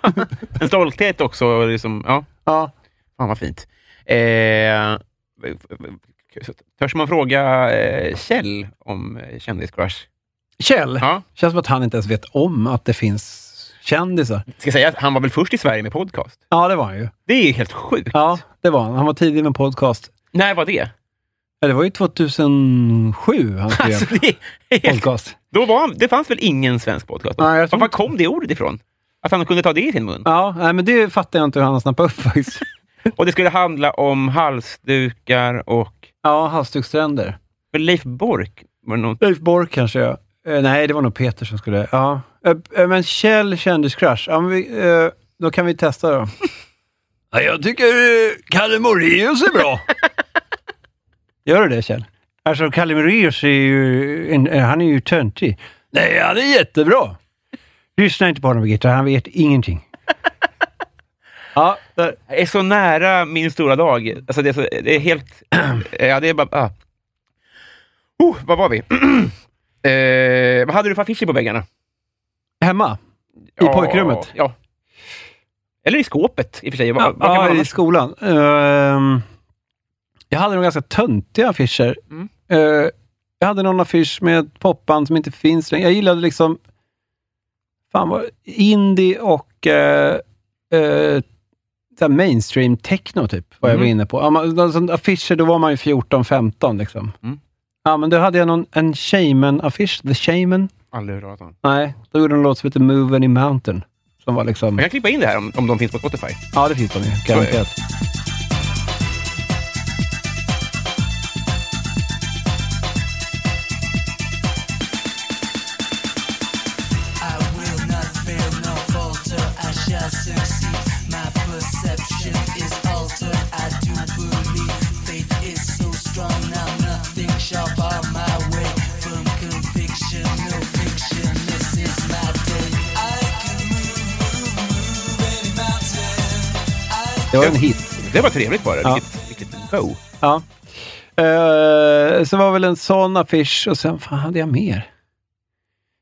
Speaker 3: en stolthet också. och Liksom, ja.
Speaker 2: Ja.
Speaker 3: Fan vad fint. Eh, törs man fråga eh, Kjell om eh, kändiscrush?
Speaker 2: Kjell.
Speaker 3: Ja.
Speaker 2: Känns som att han inte ens vet om att det finns kändisar.
Speaker 3: Ska jag säga att han var väl först i Sverige med podcast?
Speaker 2: Ja, det var han ju.
Speaker 3: Det är ju helt sjukt.
Speaker 2: Ja, det var han. Han var tidig med podcast.
Speaker 3: När var det?
Speaker 2: Ja, det var ju 2007 han skrev
Speaker 3: Alltså, det är helt,
Speaker 2: podcast.
Speaker 3: då var han, det fanns väl ingen svensk podcast? då?
Speaker 2: Nej, jag tror
Speaker 3: var
Speaker 2: inte.
Speaker 3: kom det ordet ifrån? Att han kunde ta det i sin mun?
Speaker 2: Ja, nej, men det fattar jag inte hur han snappade upp faktiskt.
Speaker 3: Och det skulle handla om halsdukar och...
Speaker 2: Ja, halsdukstränder.
Speaker 3: men Leif Bork var det någon...
Speaker 2: Leif Bork kanske jag. Eh, nej, det var nog Peter som skulle... Ja. Eh, eh, men Kjell kändiscrush. Ja, men vi, eh, då kan vi testa då. ja, jag tycker eh, Kalle Moraeus är bra. Gör du det Kjell? Alltså Kalle Moraeus är ju... En, eh, han är ju töntig. Nej, han är jättebra. Lyssna inte på honom Birgitta, han vet ingenting. ja, där.
Speaker 3: Jag är så nära min stora dag. Alltså det, är så, det är helt... ja, det är bara... Ah. Oh, vad var vi? eh, vad hade du för affischer på väggarna? I
Speaker 2: Hemma? I pojkrummet?
Speaker 3: Ja. Eller i skåpet, i och för sig. Vad,
Speaker 2: Ja,
Speaker 3: vad kan man
Speaker 2: i
Speaker 3: annars-
Speaker 2: skolan. Ehm, jag hade nog ganska töntiga affischer.
Speaker 3: Mm.
Speaker 2: Eh, jag hade någon affisch med ett popband som inte finns längre. Jag gillade liksom fan vad, indie och eh, eh, så här mainstream techno, typ, vad jag var
Speaker 3: Mm.
Speaker 2: inne på. Ja, man, de, som affischer, då var man ju 14-15. Liksom.
Speaker 3: Mm.
Speaker 2: Ja, men då hade jag någon, en Shaman-affisch, The Shaman.
Speaker 3: Aldrig hört talas om.
Speaker 2: Nej, då gjorde de en låt som heter Move Any Mountain. Som var liksom...
Speaker 3: Jag kan klippa in det här om, om de finns på Spotify.
Speaker 2: Ja, det finns de ju. Garanterat. Det var en hit.
Speaker 3: Det var trevligt bara.
Speaker 2: Ja.
Speaker 3: Vilket, vilket go.
Speaker 2: Ja. Eh, så var väl en sån affisch och sen, fan hade jag mer?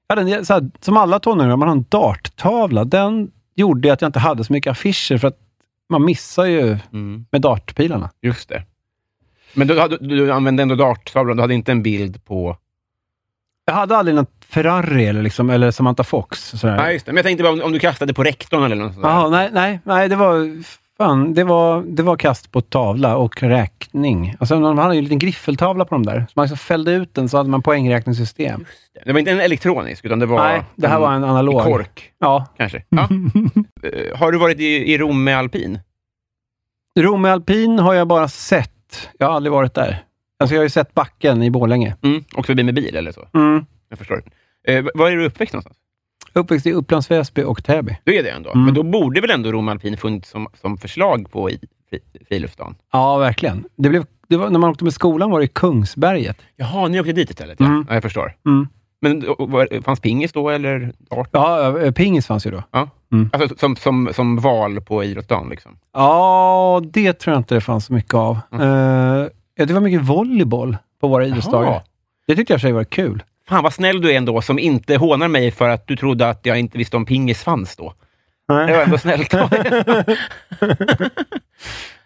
Speaker 2: Jag hade en, så här, som alla tonåringar, man har en darttavla. Den gjorde att jag inte hade så mycket affischer för att man missar ju
Speaker 3: Mm.
Speaker 2: med dartpilarna.
Speaker 3: Just det. Men du, hade- du, du använde ändå darttavlan. Du hade inte en bild på...
Speaker 2: Jag hade aldrig någon Ferrari eller, liksom, eller Samantha Fox. Sådär.
Speaker 3: Nej, just det. Men jag tänkte bara om, om du kastade på rektorn eller något sånt. där.
Speaker 2: Jaha, nej, nej, nej, det var... Fan, det var, det var kast på tavla och räkning. Alltså, man hade ju en liten griffeltavla på de där. Så man liksom fällde ut den så hade man poängräkningssystem.
Speaker 3: Det var inte en elektronisk, utan det var...
Speaker 2: Nej, det här var en analog.
Speaker 3: I kork,
Speaker 2: Ja,
Speaker 3: kanske. Ja. Eh, har du varit i, i Rom med alpin?
Speaker 2: Rom med alpin har jag bara sett. Jag har aldrig varit där. Alltså jag har ju sett backen i Borlänge.
Speaker 3: Mm. Och förbi med bil eller så?
Speaker 2: Mm.
Speaker 3: Jag förstår. Eh, v- var är du uppväxt någonstans?
Speaker 2: Uppväxt i Upplands Väsby och Täby.
Speaker 3: Du är det ändå.
Speaker 2: Mm.
Speaker 3: Men då borde väl ändå Rom alpin funnits som, som förslag på i, i friluftsdagen?
Speaker 2: Ja, verkligen. Det blev, det var, när man åkte med skolan var det i Kungsberget.
Speaker 3: Jaha, ni åkte dit istället? Ja,
Speaker 2: Mm.
Speaker 3: ja jag förstår.
Speaker 2: Mm.
Speaker 3: Men och, var, fanns pingis då, eller dart?
Speaker 2: Ja, eh, pingis fanns ju då. Mm.
Speaker 3: Alltså, som, som, som val på idrottsdagen? Liksom.
Speaker 2: Ja, det tror jag inte det fanns så mycket av.
Speaker 3: Mm.
Speaker 2: Eh, ja, det var mycket volleyboll på våra idrottsdagar.
Speaker 3: Jaha.
Speaker 2: Det tyckte jag i och för sig var kul.
Speaker 3: Fan vad snäll du är ändå, som inte hånar mig för att du trodde att jag inte visste om pingis fanns då. Det var ändå snällt av dig.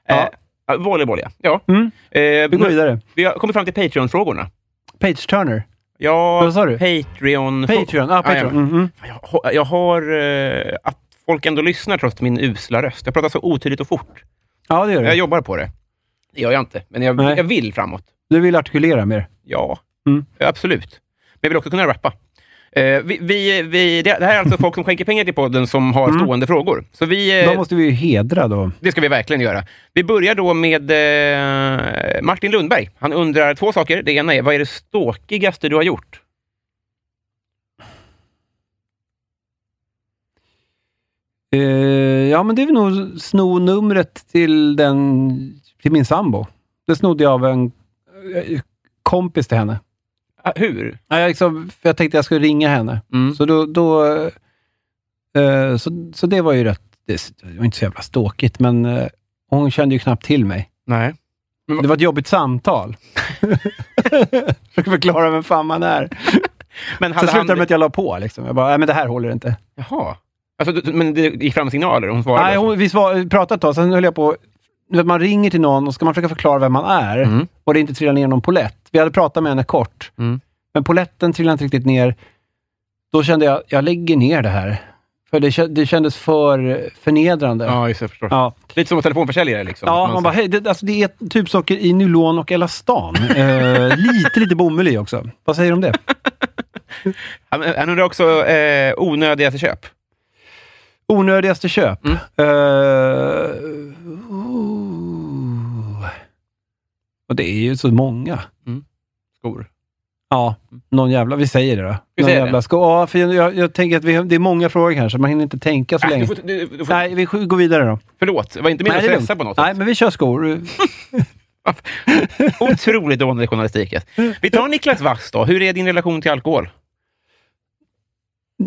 Speaker 3: Eh, ja, Volleyboll, ja. ja.
Speaker 2: Mm.
Speaker 3: Eh,
Speaker 2: Vi går
Speaker 3: nu-
Speaker 2: vidare.
Speaker 3: vi har kommit fram till Patreon-frågorna.
Speaker 2: Page Turner.
Speaker 3: Ja,
Speaker 2: Vad sa du?
Speaker 3: Patreon...
Speaker 2: Patreon. Ah,
Speaker 3: Ja, ja.
Speaker 2: Patreon. Mm, mm.
Speaker 3: Fan, Jag, har- jag har... Eh, att folk ändå lyssnar trots min usla röst. Jag pratar så otydligt och fort.
Speaker 2: ja, det gör
Speaker 3: Jag
Speaker 2: du.
Speaker 3: jobbar på det. Det gör jag inte, men jag,
Speaker 2: Nej.
Speaker 3: jag vill framåt.
Speaker 2: Du vill artikulera mer.
Speaker 3: Ja,
Speaker 2: Mm.
Speaker 3: absolut. Men jag vill också kunna rappa. Eh, vi, vi, vi, det det här är alltså folk som skänker pengar till podden som har stående frågor. Så vi, eh,
Speaker 2: Mm. De måste vi ju hedra då.
Speaker 3: Det ska vi verkligen göra. Vi börjar då med eh, Martin Lundberg. Han undrar två saker. Det ena är, vad är det ståkigaste du har gjort?
Speaker 2: Eh, ja, men det är väl nog sno numret till, den, till min sambo. Det snodde jag av en eh, kompis till henne.
Speaker 3: Ah, Hur?
Speaker 2: Ja, jag, liksom, för jag tänkte jag skulle ringa henne.
Speaker 3: Mm.
Speaker 2: Så, då, då, eh, så, så det var ju rätt... Det var inte så jävla ståkigt, men eh, hon kände ju knappt till mig.
Speaker 3: Nej.
Speaker 2: Det var ett jobbigt samtal. Försöker förklara vem fan man är.
Speaker 3: Men
Speaker 2: Sen
Speaker 3: hade han...
Speaker 2: slutade det med att jag la på. Liksom. Jag bara, nej men det här håller inte.
Speaker 3: Jaha. Alltså, du- men det gick fram signaler? Hon svarade?
Speaker 2: Nej,
Speaker 3: och så?
Speaker 2: hon, vi svar, pratade ett tag, sen höll jag på... du vet, Man ringer till någon och ska man försöka förklara vem man är
Speaker 3: Mm.
Speaker 2: och det inte trillar ner någon polett. Vi hade pratat med henne kort,
Speaker 3: Mm.
Speaker 2: men poletten trillade inte riktigt ner. Då kände jag, jag lägger ner det här. För det, kä- det kändes för förnedrande.
Speaker 3: Ja, just det. Jag förstår.
Speaker 2: Ja,
Speaker 3: Lite som en telefonförsäljare liksom.
Speaker 2: ja man
Speaker 3: Någon
Speaker 2: bara,
Speaker 3: som-
Speaker 2: hej, det, alltså, det är tubsocker i nylon och elastan. Eh, lite, lite bomull i också. Vad säger du om det?
Speaker 3: han, han undrar också eh, onödigaste köp.
Speaker 2: Onödigaste köp?
Speaker 3: Mm.
Speaker 2: Eh, oh. Och det är ju så många.
Speaker 3: Skor.
Speaker 2: Ja, någon jävla... Vi säger det då.
Speaker 3: Mm. Vi
Speaker 2: någon
Speaker 3: säger det.
Speaker 2: jävla sko- ja, för jag, jag, jag tänker att vi, det är många frågor här, så man hinner inte tänka så
Speaker 3: Äh,
Speaker 2: länge.
Speaker 3: du får, du, du får,
Speaker 2: Nej, vi sk- går vidare då.
Speaker 3: Förlåt, det var inte
Speaker 2: Nej,
Speaker 3: meningen att
Speaker 2: det är
Speaker 3: stressa
Speaker 2: lugnt.
Speaker 3: på något
Speaker 2: Nej,
Speaker 3: sätt.
Speaker 2: men vi kör skor.
Speaker 3: Otroligt dålig journalistik. Vi tar Niklas Wass då. Hur är din relation till alkohol?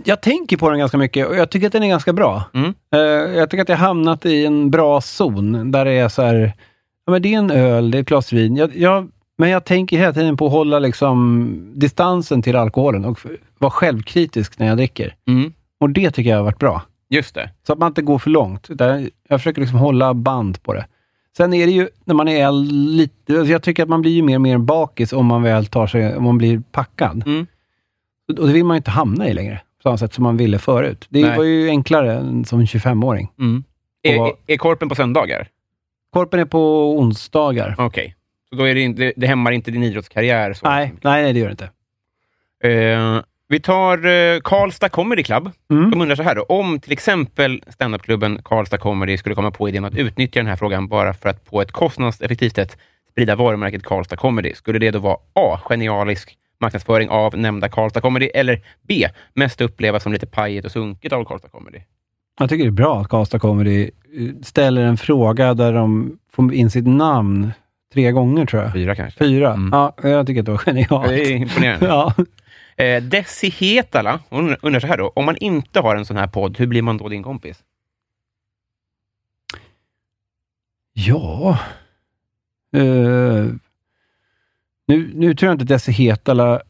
Speaker 2: Jag tänker på den ganska mycket och jag tycker att den är ganska bra.
Speaker 3: Mm.
Speaker 2: Eh, jag tycker att jag hamnat i en bra zon där det är så här... Ja, men det är en öl, det är ett glas vin. Jag, jag, men jag tänker hela tiden på att hålla liksom, distansen till alkoholen och f- vara självkritisk när jag dricker. Och det tycker jag har varit bra.
Speaker 3: Mm, Just det.
Speaker 2: Så att man inte går för långt. Utan jag försöker liksom hålla band på det. Sen är det ju, när man är äldre, lite... Alltså jag tycker att man blir ju mer och mer en bakis om man väl tar sig... Om man blir packad.
Speaker 3: Mm.
Speaker 2: Och och det vill man ju inte hamna i längre. På samma sätt som man ville förut. Det
Speaker 3: Nej.
Speaker 2: var ju enklare än som 25-åring.
Speaker 3: Är,
Speaker 2: Och-
Speaker 3: är korpen på söndagar?
Speaker 2: Korpen är på onsdagar.
Speaker 3: Okej. Så då är det, inte- det, det hämmar inte din idrottskarriär? Så.
Speaker 2: Nej, nej, nej, det gör det inte.
Speaker 3: Eh, vi tar eh, Karlstad Comedy Club.
Speaker 2: Mm.
Speaker 3: De undrar så här då. Om till exempel standupklubben Karlstad Comedy skulle komma på idén att utnyttja den här frågan bara för att på ett kostnadseffektivt sätt sprida varumärket Karlstad Comedy. Skulle det då vara A. Genialisk marknadsföring av nämnda Karlstad Comedy eller B. Mest upplevas som lite pajigt och sunkigt av Karlstad Comedy?
Speaker 2: Jag tycker det är bra att Karlstad Comedy eh, ställer en fråga där de får in sitt namn tre gånger, tror jag.
Speaker 3: Fyra kanske.
Speaker 2: Fyra?
Speaker 3: Mm.
Speaker 2: Ja, jag tycker att det var genialt.
Speaker 3: Det är imponerande.
Speaker 2: Ja.
Speaker 3: Eh, Desi Hetala hon undrar så här då. Om man inte har en sån här podd, hur blir man då din kompis?
Speaker 2: Ja. Eh, nu, nu tror jag inte att Desi Hetala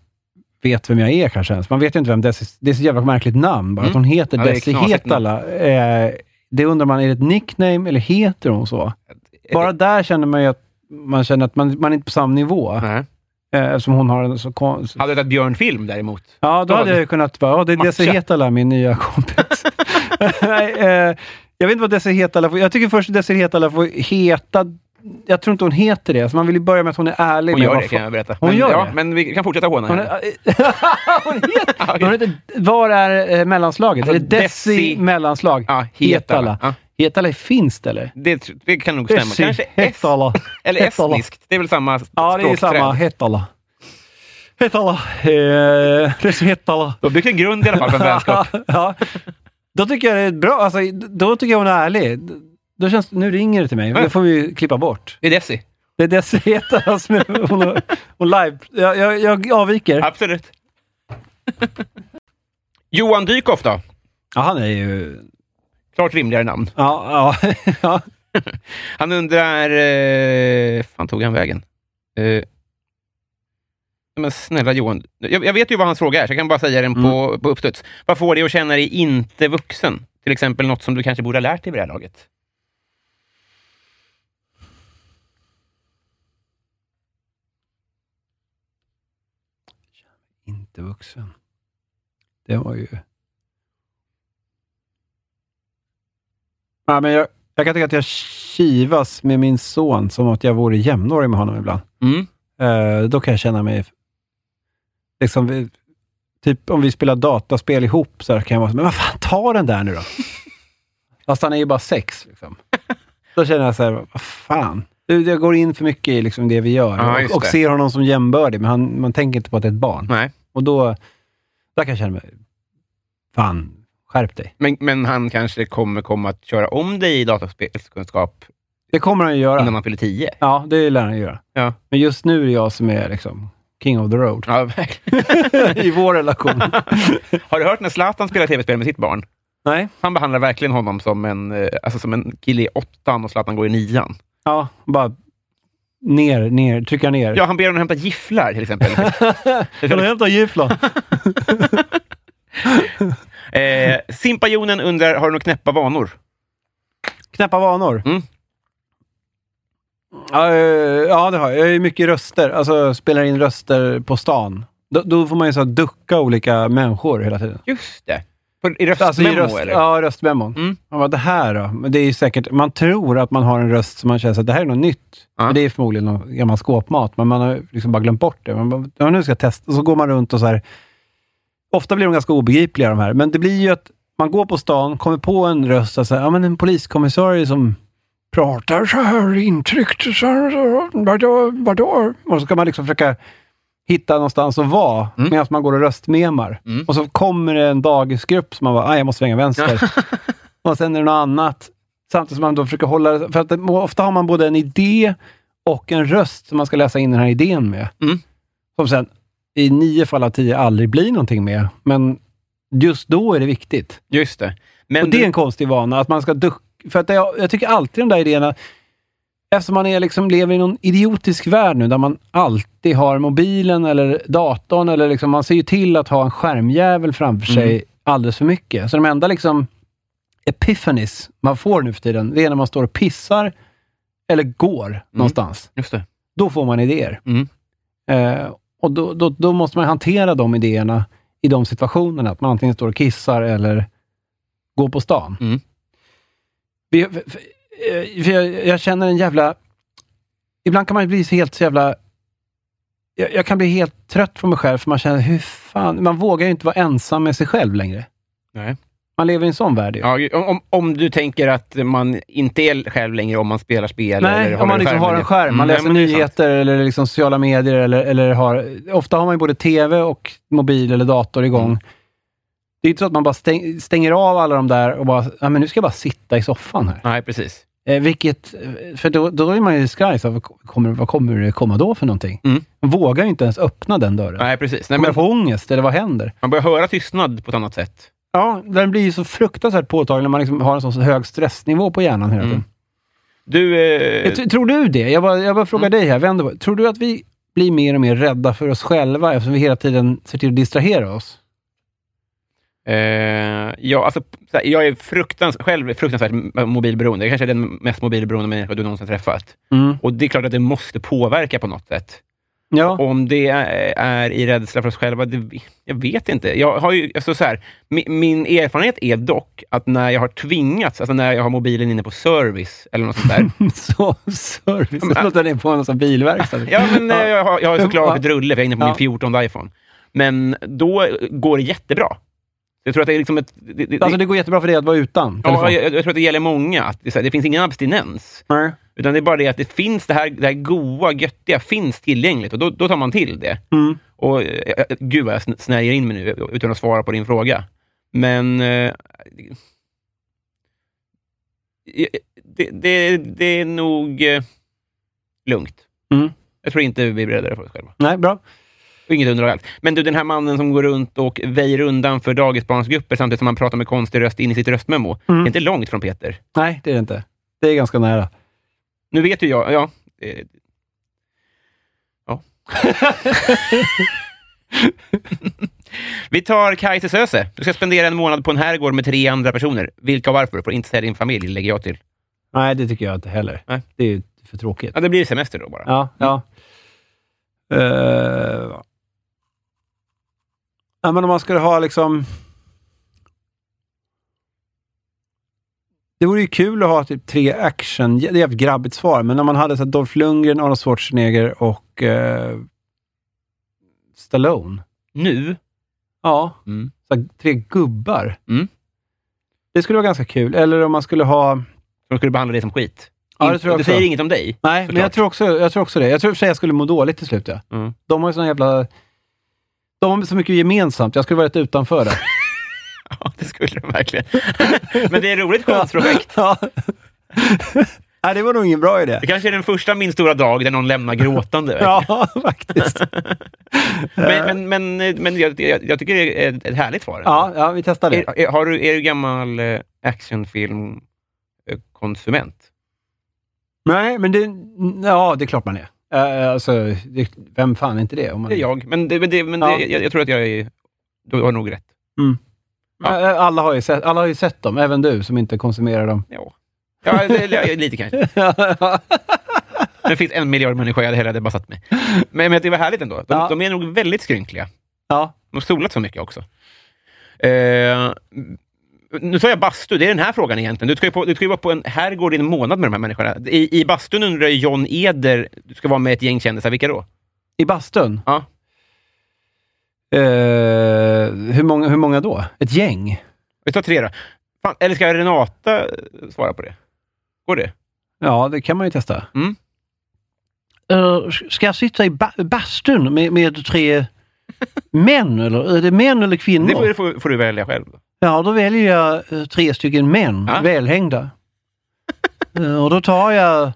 Speaker 2: vet vem jag är kanske ens. Man vet ju inte vem Desi... Det är så jävla märkligt namn bara. Att
Speaker 3: Mm.
Speaker 2: hon heter
Speaker 3: Ja, det är
Speaker 2: Desi
Speaker 3: knasigt
Speaker 2: Hetala. Eh, det undrar man, är det ett nickname eller heter hon så? Bara där känner man ju att man känner att man, man är inte på samma nivå.
Speaker 3: Nej.
Speaker 2: Eh, eftersom hon har en så konstig...
Speaker 3: Hade du tagit Björn Film däremot?
Speaker 2: Ja, då
Speaker 3: Då
Speaker 2: hade
Speaker 3: hade-
Speaker 2: jag ju kunnat vara, ja det är
Speaker 3: Matcha.
Speaker 2: Desi Hetala, min nya kompis. Nej, eh, jag vet inte vad Desi Hetala får, jag tycker först Desi Hetala får heta, jag tror inte hon heter det, så man vill ju börja med att hon är ärlig.
Speaker 3: Hon
Speaker 2: med
Speaker 3: gör
Speaker 2: vad
Speaker 3: det,
Speaker 2: fan-
Speaker 3: kan jag berätta.
Speaker 2: Hon
Speaker 3: men,
Speaker 2: gör
Speaker 3: ja,
Speaker 2: det?
Speaker 3: Men vi kan fortsätta håna
Speaker 2: Hon,
Speaker 3: henne.
Speaker 2: är, hon heter, hon heter, var är eh, mellanslaget?
Speaker 3: Alltså,
Speaker 2: är det Desi,
Speaker 3: Desi-
Speaker 2: mellanslag?
Speaker 3: Ja, Hetala. Ja.
Speaker 2: Hetala är finskt eller?
Speaker 3: Det, tr- det kan nog stämma. Kanske es-
Speaker 2: Hetala.
Speaker 3: Eller
Speaker 2: Hetala.
Speaker 3: estniskt. Det är väl samma
Speaker 2: Ja, det är
Speaker 3: språkträd.
Speaker 2: samma. Hetala. Hetala. Eh, Desi Hetala.
Speaker 3: Då byggs en grund i alla fall för en vänskap.
Speaker 2: ja. Då tycker jag det är bra. Alltså, då tycker jag hon är ärlig. Då känns, nu ringer det till mig. Det får vi ju klippa bort.
Speaker 3: Det är Desi.
Speaker 2: Det är Desi Hetala som är- hon, har- hon live. Jag, jag, jag avviker.
Speaker 3: Absolut. Johan Dykhoff då?
Speaker 2: Ja, han är ju...
Speaker 3: Klart rimligare namn.
Speaker 2: Ja, ja, ja.
Speaker 3: Han undrar... Eh, fan tog han vägen? Eh, nej men snälla Johan. Jag, jag vet ju vad hans fråga är, så jag kan bara säga den på, på uppstuds. Vad får dig att känna dig inte vuxen? Till exempel något som du kanske borde ha lärt dig vid det här laget.
Speaker 2: Inte vuxen. Det var ju... Nej, men jag, jag kan tycka att jag kivas med min son som att jag vore jämnårig med honom ibland.
Speaker 3: Mm.
Speaker 2: Eh, då kan jag känna mig... Liksom, vi, typ om vi spelar dataspel ihop så här kan jag vara så men vad fan, ta den där nu då. Fast han är ju bara sex. Liksom. Då känner jag så här, vad fan. Du, Jag går in för mycket i liksom det vi gör
Speaker 3: Ja, just
Speaker 2: och, och
Speaker 3: det.
Speaker 2: ser honom som jämbördig, men han, man tänker inte på att det är ett barn.
Speaker 3: Nej.
Speaker 2: Och då, där kan jag känna mig, fan, skärp dig.
Speaker 3: Men, men han kanske kommer komma att köra om dig i dataspelskunskap
Speaker 2: Det kommer han ju göra.
Speaker 3: innan han fyller tio.
Speaker 2: Ja, det lär han ju göra.
Speaker 3: Ja.
Speaker 2: Men just nu är det jag som är liksom King of the Road.
Speaker 3: Ja, verkligen.
Speaker 2: I vår relation.
Speaker 3: Har du hört när Zlatan spelar tv-spel med sitt barn?
Speaker 2: Nej.
Speaker 3: Han behandlar verkligen honom som en, eh, alltså som en kille i åttan och Zlatan går i nian.
Speaker 2: Ja, bara ner, ner, trycka ner.
Speaker 3: Ja, han ber honom hämta gifflar till exempel.
Speaker 4: Kan du hämta gifflar?
Speaker 3: eh, Simpajonen undrar, har du några knäppa vanor?
Speaker 2: Knäppa vanor.
Speaker 3: Mm.
Speaker 2: Ja, eh, ja, det har jag. Jag är mycket röster. Alltså spelar in röster på stan. Då, då får man ju så här ducka olika människor hela tiden.
Speaker 3: Just det. På, I röstmemo,
Speaker 2: Alltså i röst,
Speaker 3: eller?
Speaker 2: ja, röstmemon.
Speaker 3: Mm.
Speaker 2: Man bara, det här då? Men det är ju säkert, man tror att man har en röst som man känner att det här är något nytt.
Speaker 3: Ja.
Speaker 2: Men det är förmodligen någon gammal skåpmat, men man har liksom bara glömt bort det. Man bara, ja, nu ska jag testa. Och så går man runt och så här. Ofta blir de ganska obegripliga de här, men det blir ju att man går på stan, kommer på en röst, alltså, ja, men en poliskommissarie som pratar så här intryckt. Så här, så här, vadå, vadå? Och så kan man liksom försöka hitta någonstans att vara medan man går och röstmemar. Och så kommer det en dagisgrupp som man bara, "Aj, jag måste svänga vänster. och sen är det något annat. Samtidigt som man då försöker hålla... För att det, ofta har man både en idé och en röst som man ska läsa in den här idén med.
Speaker 3: Mm.
Speaker 2: Som sen i nio fall av tio aldrig blir någonting med. Men just då är det viktigt.
Speaker 3: Just det. Men
Speaker 2: Och det är en konstig vana, att man ska ducka. För att jag, jag tycker alltid de där idéerna, eftersom man är liksom, lever i någon idiotisk värld nu, där man alltid har mobilen eller datorn, eller liksom, man ser ju till att ha en skärmjävel framför sig alldeles för mycket. Så de enda liksom epiphanies man får nu för tiden, det är när man står och pissar eller går någonstans.
Speaker 3: Just det.
Speaker 2: Då får man idéer.
Speaker 3: Mm.
Speaker 2: Eh, och då, då, då måste man hantera de idéerna i de situationerna. Att man antingen står och kissar eller går på stan.
Speaker 3: Mm.
Speaker 2: Vi, för, för, eh, för jag, jag känner en jävla... Ibland kan man ju bli så helt så jävla... Jag, jag kan bli helt trött på mig själv, för man känner, hur fan... Man vågar ju inte vara ensam med sig själv längre.
Speaker 3: Nej.
Speaker 2: Man lever i en sån värld ju.
Speaker 3: Ja, ju- om, om du tänker att man inte är själv längre om man spelar spel eller
Speaker 2: Nej, om man
Speaker 3: en
Speaker 2: liksom har en skärm. Man
Speaker 3: Mm,
Speaker 2: läser
Speaker 3: nej, men det är sant.
Speaker 2: nyheter eller liksom sociala medier. Eller, eller har, ofta har man ju både tv och mobil eller dator igång.
Speaker 3: Mm.
Speaker 2: Det är inte så att man bara stäng, stänger av alla de där och bara, ja men nu ska jag bara sitta i soffan här.
Speaker 3: Nej, precis.
Speaker 2: Eh, vilket, eh, för då, då är man ju skraj, så här, vad, kommer, vad kommer det komma då för någonting?
Speaker 3: Mm.
Speaker 2: Man vågar ju inte ens öppna den dörren.
Speaker 3: Nej, precis. Nej,
Speaker 2: Kommer
Speaker 3: men
Speaker 2: jag få ångest eller vad händer?
Speaker 3: man börjar höra tystnad på ett annat sätt.
Speaker 2: Ja, den blir ju så fruktansvärt påtaglig när man liksom har en sån hög stressnivå på hjärnan hela tiden.
Speaker 3: Mm. Du, eh,
Speaker 2: Jag tr- Tror du det? Jag bara, jag bara frågar
Speaker 3: Mm.
Speaker 2: dig här, vänder på Tror du att vi blir mer och mer rädda för oss själva eftersom vi hela tiden ser till att distrahera oss?
Speaker 3: eh, ja, alltså, så här, jag är fruktans, själv fruktansvärt m- mobilberoende. Jag kanske är den mest mobilberoende människa du någonsin träffat.
Speaker 2: Mm.
Speaker 3: Och det är klart att det måste påverka på något sätt.
Speaker 2: Ja.
Speaker 3: Om det är- är i rädsla för oss själva, det, jag vet inte. Jag har ju, alltså så här, min, min erfarenhet är dock att när jag har tvingats, alltså när jag har mobilen inne på service eller något sånt där.
Speaker 2: så service. Det låter det på en sån bilverkstad.
Speaker 3: ja, men eh, jag har, jag har såklart ett rulle, för jag är inne på
Speaker 2: Ja.
Speaker 3: min 14 iPhone. Men då går det jättebra. Jag tror att det är liksom ett... Det, det,
Speaker 2: Alltså det går jättebra för dig att vara utan
Speaker 3: ja,
Speaker 2: telefon.
Speaker 3: jag, jag tror att det gäller många, att det, är så här, det finns ingen abstinens.
Speaker 2: Nej.
Speaker 3: Utan det är bara det att det finns det här, det här goa, göttiga, finns tillgängligt och då, då tar man till det.
Speaker 2: Mm.
Speaker 3: Och, eh, eh, gud vad jag sn- snärjer in mig nu utan att svara på din fråga. Men... Eh, eh, det, det, det är nog eh, lugnt.
Speaker 2: Mm.
Speaker 3: Jag tror inte vi blir räddare för oss själva.
Speaker 2: Nej, bra.
Speaker 3: Och Inget underlag alls. Men du, den här mannen som går runt och väjer undan för dagisbarnsgrupper samtidigt som han pratar med konstig röst in i sitt röstmemo. Det är inte långt från Peter.
Speaker 2: Nej, det är det inte. Det är ganska nära.
Speaker 3: Nu vet ju jag... Ja, eh, Vi tar Kajse Söze. Du ska spendera en månad på en herrgård med tre andra personer. Vilka och varför? Får inte säga din familj, lägger jag till.
Speaker 2: Nej, det tycker jag inte heller.
Speaker 3: Nej.
Speaker 2: Det är ju för tråkigt.
Speaker 3: Ja, det blir semester då bara.
Speaker 2: Ja, ja. Mm. Eh, ja, men om man skulle ha liksom... Det vore ju kul att ha typ tre action... Det är ett jävligt grabbigt svar, men om man hade så här Dolph Lundgren, Arnold Schwarzenegger och eh, Stallone.
Speaker 3: Nu?
Speaker 2: Ja,
Speaker 3: Mm.
Speaker 2: så här, tre gubbar.
Speaker 3: Mm.
Speaker 2: Det skulle vara ganska kul. Eller om man skulle ha...
Speaker 3: De skulle behandla dig som skit.
Speaker 2: Ja, det
Speaker 3: In-
Speaker 2: tror jag
Speaker 3: det
Speaker 2: också.
Speaker 3: säger inget om dig.
Speaker 2: Nej, men jag
Speaker 3: Såklart.
Speaker 2: tror, också, jag tror också det. Jag tror i och för sig jag skulle må dåligt till slut. Ja.
Speaker 3: Mm.
Speaker 2: De har ju sån jävla... De har så mycket gemensamt. Jag skulle vara rätt utanför där.
Speaker 3: Ja, det skulle de verkligen. Men det är ett roligt konstprojekt.
Speaker 2: ja. Nej, det var nog ingen bra idé.
Speaker 3: Det kanske är den första Min stora dag där någon lämnar gråtande.
Speaker 2: Ja, faktiskt.
Speaker 3: Men, men, men, men jag, jag, jag tycker det är ett härligt svar.
Speaker 2: Ja, ja vi testar det.
Speaker 3: Är, är, har du, är du gammal eh, actionfilmkonsument?
Speaker 2: Nej, men det... Ja, det är klart man är. Eh, Alltså, det, vem fan är inte det? Om man,
Speaker 3: Det är jag, men, det, men, det, men
Speaker 2: Ja.
Speaker 3: det, jag, jag tror att jag är... Du har nog rätt.
Speaker 2: Eh, eh, Alla, har ju sett, alla har ju sett dem, även du som inte konsumerar dem.
Speaker 3: Ja, ja det, det- lite kanske. Men Det finns en miljard människor jag hade hellre hade bara satt mig. Men, men det var härligt ändå. De,
Speaker 2: Ja.
Speaker 3: de är nog väldigt skrynkliga.
Speaker 2: ja.
Speaker 3: De har solat så mycket också. Eh, nu sa jag bastu, det är den här frågan egentligen. Du ska ju, på, du ska ju vara på en herrgård i en månad med de här människorna. I, i bastun undrar ju John Eder, du ska vara med ett gäng kändisar, vilka då?
Speaker 2: I bastun?
Speaker 3: Ja.
Speaker 2: Eh, hur, många, hur många då? Ett gäng?
Speaker 3: Vi tar tre då. Fan, eller ska Renata eh, svara på det? Går det?
Speaker 2: Ja, det kan man ju testa.
Speaker 3: Mm.
Speaker 1: Eller s- Eh, ska jag sitta i ba- bastun med, med tre män? Eller, är det män eller kvinnor?
Speaker 3: Det får, det får, får du välja själv. Då.
Speaker 1: Ja, då väljer jag eh, tre stycken män,
Speaker 3: Ja.
Speaker 1: välhängda. Eh, och då tar jag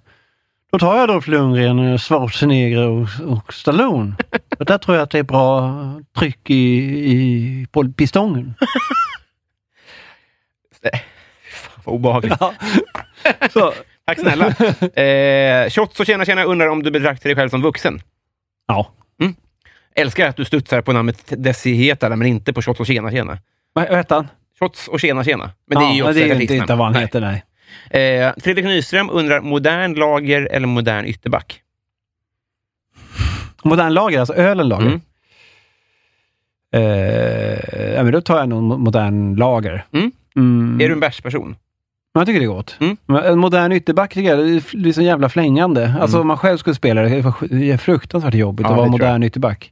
Speaker 1: då tar jag Dolph Lundgren, eh, Schwarzenegger och, och Stallone. Och där tror jag att det är bra tryck i, i på pistongen.
Speaker 3: Vad obehagligt.
Speaker 2: Så,
Speaker 3: Tack snälla. Eh, Shots och tjena tjena undrar om du betraktar dig själv som vuxen.
Speaker 1: Ja.
Speaker 3: Mm. Älskar att du studsar på namnet Desi Hetala, men inte på Shots och tjena tjena.
Speaker 2: vad vad hette han?
Speaker 3: Shots och tjena tjena. Men det är ju
Speaker 2: ja,
Speaker 3: också
Speaker 2: det är
Speaker 3: ett
Speaker 2: ju inte,
Speaker 3: artistnamn.
Speaker 2: inte vad han heter, nej.
Speaker 3: Nej. Eh, Fredrik Nyström undrar, modern lager eller modern ytterback?
Speaker 2: Modern lager, alltså ölen lager.
Speaker 3: Mm.
Speaker 2: Eh, ja, men då tar jag nog mo- modern lager.
Speaker 3: Mm.
Speaker 2: Mm.
Speaker 3: Är du en bärsperson?
Speaker 2: Men Jag tycker det är gott.
Speaker 3: Mm.
Speaker 2: Men En modern ytterback tycker jag, det är fl- det är så jävla flängande. Alltså om man själv skulle spela det, det är det är fruktansvärt jobbigt
Speaker 3: Mm. Ja,
Speaker 2: att vara
Speaker 3: det tror jag.
Speaker 2: modern ytterback.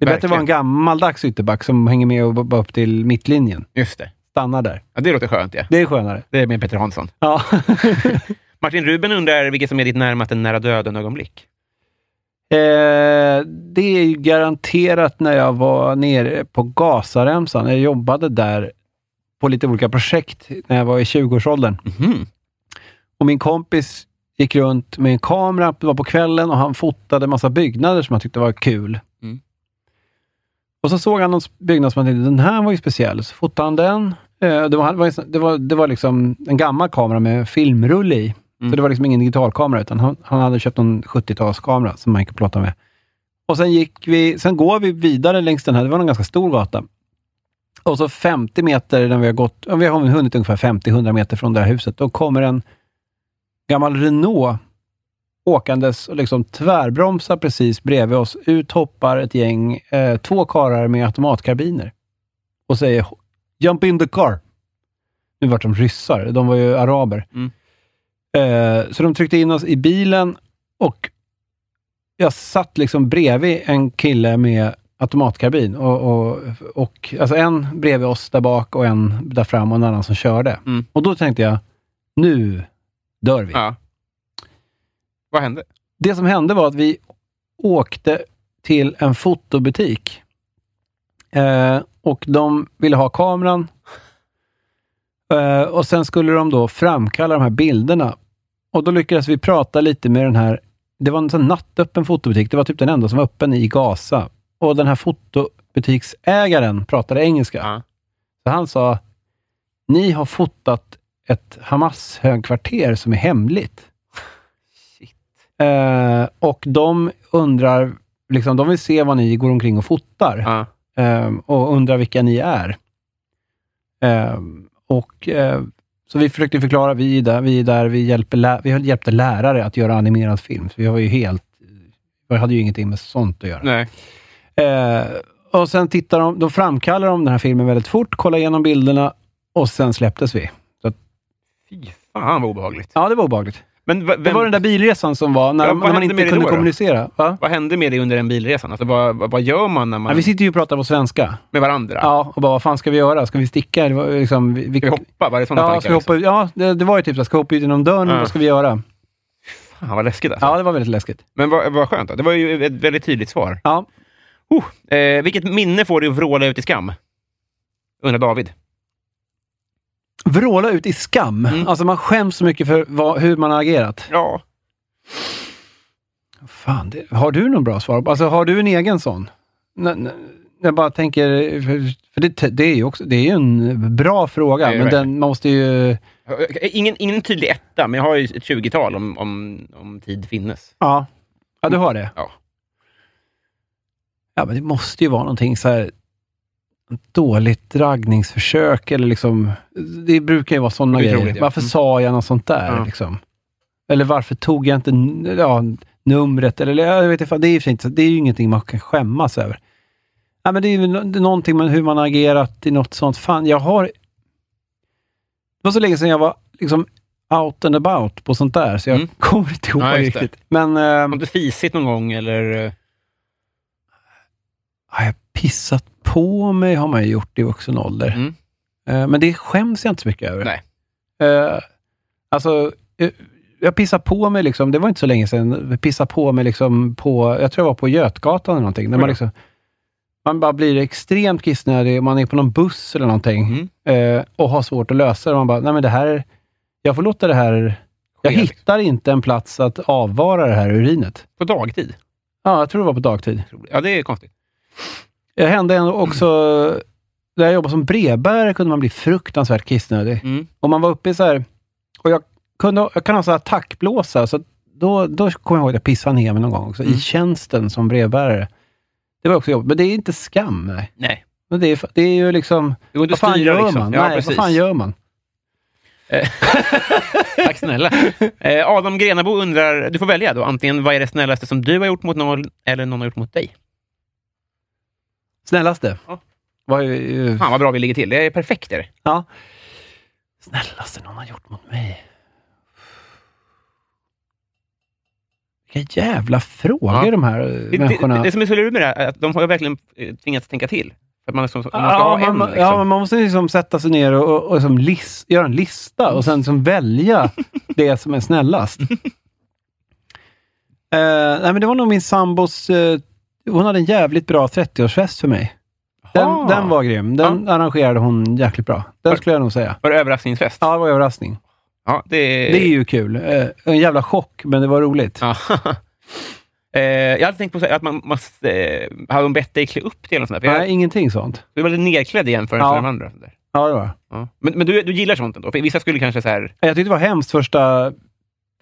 Speaker 2: Det är bättre att vara en gammaldags ytterback som hänger med och bara upp till mittlinjen.
Speaker 3: Just det.
Speaker 2: Stannar där.
Speaker 3: Ja, det låter skönt. Ja.
Speaker 2: Det är skönare.
Speaker 3: Det är med Peter Hansson.
Speaker 2: Ja.
Speaker 3: Martin Ruben undrar vilket som är ditt närmaste nära döden-ögonblick.
Speaker 2: Eh, det är ju garanterat när jag var nere på Gazaremsan. Jag jobbade där på lite olika projekt när jag var i 20-årsåldern.
Speaker 3: Mhm.
Speaker 2: Och min kompis gick runt med en kamera, det var på kvällen, och han fotade massa byggnader som han tyckte var kul.
Speaker 3: Mm.
Speaker 2: Och så såg han någon byggnad som han tänkte, den här var ju speciell. Så fotade han den. Eh, Det var, det var, en sån- det var, det var liksom en gammal kamera med filmrulle i.
Speaker 3: Mm.
Speaker 2: Så det var liksom ingen digitalkamera, utan han, han hade köpt någon 70-talskamera som man gick och plottade med. Och sen gick vi, sen går vi vidare längs den här, det var en ganska stor gata. Och så 50 meter, när vi har gått, ja, vi har hunnit ungefär 50-100 meter från det här huset, då kommer en gammal Renault åkandes och liksom tvärbromsar precis bredvid oss. Ut hoppar ett gäng, eh, två karlar med automatkarbiner och säger ”Jump in the car”. Nu vart de ryssar, de var ju araber.
Speaker 3: Mm.
Speaker 2: Eh, så de tryckte in oss i bilen och jag satt liksom bredvid en kille med automatkarbin. Och, och, och, alltså en bredvid oss där bak och en där fram och en annan som körde.
Speaker 3: Mm.
Speaker 2: Och då tänkte jag, nu dör vi.
Speaker 3: Ja. Vad hände?
Speaker 2: Det som hände var att vi åkte till en fotobutik. Eh, och de ville ha kameran. Eh, och sen skulle de då framkalla de här bilderna. Och då lyckades vi prata lite med den här... Det var en sån nattöppen fotobutik. Det var typ den enda som var öppen i Gaza. Och den här fotobutiksägaren pratade engelska.
Speaker 3: Ja.
Speaker 2: Så han sa, ni har fotat ett Hamas högkvarter som är hemligt. Eh, och de undrar, liksom, de vill se vad ni går omkring och fotar
Speaker 3: Ja.
Speaker 2: eh, och undrar vilka ni är. Eh, och, eh, så vi försökte förklara, vi är där, vi, är där, vi, hjälper lä- vi hjälpte lärare att göra animerad film. Så vi var ju helt, vi hade ju ingenting med sånt att göra.
Speaker 3: Nej.
Speaker 2: Eh, och sen tittar de, de framkallar de den här filmen väldigt fort, kollar igenom bilderna och sen släpptes vi. Så att,
Speaker 3: Fy fan vad obehagligt.
Speaker 2: ja, det var obehagligt.
Speaker 3: Men v-
Speaker 2: Det
Speaker 3: vem,
Speaker 2: var den där bilresan som var, när,
Speaker 3: Ja,
Speaker 2: de-
Speaker 3: vad
Speaker 2: när man
Speaker 3: hände
Speaker 2: inte
Speaker 3: med det
Speaker 2: kunde
Speaker 3: då då?
Speaker 2: kommunicera. Va?
Speaker 3: vad hände med dig under den bilresan? Alltså, vad, vad, vad gör man när
Speaker 2: Ja,
Speaker 3: man...
Speaker 2: vi sitter ju och pratar på svenska.
Speaker 3: med varandra?
Speaker 2: Ja, och bara, vad fan ska vi göra? Ska vi sticka? Det var, liksom, vi, vi,
Speaker 3: Ska vi hoppa? Var det sådana
Speaker 2: Ja,
Speaker 3: tankar?
Speaker 2: ska vi hoppa, ut? ja det, det var ju typ så ska vi hoppa ut genom dörren,
Speaker 3: liksom. Ja.
Speaker 2: vad ska vi göra?
Speaker 3: liksom? Fan vad läskigt alltså.
Speaker 2: Ja, det var väldigt läskigt.
Speaker 3: Men vad, vad skönt. Då. Det var ju ett väldigt tydligt svar.
Speaker 2: Ja.
Speaker 3: Oh, eh, vilket minne får du att vråla ut i skam? Undrar David.
Speaker 2: vråla ut i skam.
Speaker 3: Mm.
Speaker 2: Alltså man skäms så mycket för vad, hur man har agerat.
Speaker 3: Ja.
Speaker 2: Fan, det, har du någon bra svar? Alltså har du en egen sån? N- n- jag bara tänker, för, för det, det är ju också, det är ju en bra fråga,
Speaker 3: Det är det
Speaker 2: men
Speaker 3: verkligen.
Speaker 2: den måste ju...
Speaker 1: Eh,
Speaker 3: Ingen, ingen tydlig etta, men jag har ju ett 20-tal om, om, om tid finnes.
Speaker 2: Ja. ja, du har det?
Speaker 3: Ja.
Speaker 2: Ja, men det måste ju vara någonting så här dåligt dragningsförsök eller liksom, det brukar ju vara sådana
Speaker 3: Det är
Speaker 2: grejer.
Speaker 3: troligt, ja.
Speaker 2: Varför
Speaker 3: Mm.
Speaker 2: sa jag något sånt där?
Speaker 3: Ja.
Speaker 2: Liksom? Eller varför tog jag inte n- ja, numret? Eller, eller jag vet inte, fan, det är ju i och för sig inte, så- det är ju ingenting man kan skämmas över. Ja, men det är ju nå- det är någonting med hur man har agerat i något sånt. Fan, jag har... Det var så länge sedan jag var liksom out and about på sånt där, så jag
Speaker 3: Mm.
Speaker 2: kommer inte ihåg
Speaker 3: Ja, just det.
Speaker 2: riktigt. Men... ehm,
Speaker 3: Har du fisit någon gång eller? eh,
Speaker 2: Har jag pissat på mig har man ju gjort i vuxen ålder.
Speaker 3: Mm.
Speaker 2: Eh, Men det skäms jag inte så mycket över.
Speaker 3: Nej.
Speaker 2: Eh, Alltså, eh, jag pissade på mig, liksom, det var inte så länge sedan, jag pissade på mig liksom på, jag tror jag var på Götgatan eller någonting. När man,
Speaker 3: Oj då.
Speaker 2: liksom, man bara blir extremt kissnödig, och man är på någon buss eller
Speaker 3: Mm.
Speaker 2: någonting eh, och har svårt att lösa det. Man bara, nej men det här, jag får låta det här, jag
Speaker 3: Ske, liksom.
Speaker 2: hittar inte en plats att avvara det här urinet.
Speaker 3: På dagtid?
Speaker 2: Ja, jag tror det var på dagtid.
Speaker 3: Ja, det är konstigt.
Speaker 2: Det hände en- också, där jag jobbade som brevbärare kunde man bli fruktansvärt kissnödig.
Speaker 3: Mm.
Speaker 2: Och man var uppe i så här, och jag, kunde, jag kan ha så här attackblåsa, så att då, då kommer jag ihåg att jag pissade ner mig någon gång
Speaker 3: Mm.
Speaker 2: också, i tjänsten som brevbärare. Det var också jobbigt, men det är inte skam. Nej.
Speaker 3: Nej.
Speaker 2: Men det, är, det är ju liksom,
Speaker 3: Det går inte
Speaker 2: vad
Speaker 3: att
Speaker 2: fan
Speaker 3: styra,
Speaker 2: gör
Speaker 3: liksom.
Speaker 2: man?
Speaker 3: Ja,
Speaker 2: Nej, vad
Speaker 3: precis.
Speaker 2: fan gör man?
Speaker 3: Tack snälla. Eh, Adam Grenabo undrar, du får välja då, antingen vad är det snällaste som du har gjort mot någon eller någon har gjort mot dig?
Speaker 2: Snällaste.
Speaker 3: Ja.
Speaker 2: Vad, är- eh,
Speaker 3: Fan vad bra vi ligger till, det är perfekt. Är det.
Speaker 2: ja. Snällaste någon har gjort mot mig. Vilka jävla frågor
Speaker 3: Ja.
Speaker 2: de här eh,
Speaker 3: Det,
Speaker 2: människorna...
Speaker 3: det, det som är så lurigt med det här är att de har ju verkligen eh, tvingats tänka till. För att man, liksom, man ska
Speaker 2: Ja,
Speaker 3: ha
Speaker 2: man,
Speaker 3: en.
Speaker 2: man-
Speaker 3: Liksom.
Speaker 2: ja, men man måste liksom sätta sig ner och, och, och liksom lis, göra en lista och sen liksom välja det som är snällast. Eh, nej, men det var nog min sambos... eh, hon hade en jävligt bra 30-årsfest för mig. Den,
Speaker 3: Jaha.
Speaker 2: den var grym. Den arrangerade hon jäkligt bra. Den skulle jag nog säga.
Speaker 3: Var det överraskningsfest?
Speaker 2: Ja, det var en överraskning.
Speaker 3: Eh. Ja, det är...
Speaker 2: Det är ju kul. Eh, en jävla chock, men det var roligt.
Speaker 3: Ja. Eh, jag hade tänkt på så här, att man måste... Eh, hade de bett dig klä upp dig eller något sånt där? För
Speaker 2: Nej,
Speaker 3: jag,
Speaker 2: ingenting sånt.
Speaker 3: du var lite nerklädd i jämförelse
Speaker 2: Ja.
Speaker 3: med de andra. och sånt Där.
Speaker 2: Ja, det var.
Speaker 3: Ja. Men, men du, du gillar sånt ändå? För vissa skulle kanske så här...
Speaker 2: Jag tyckte det var hemskt första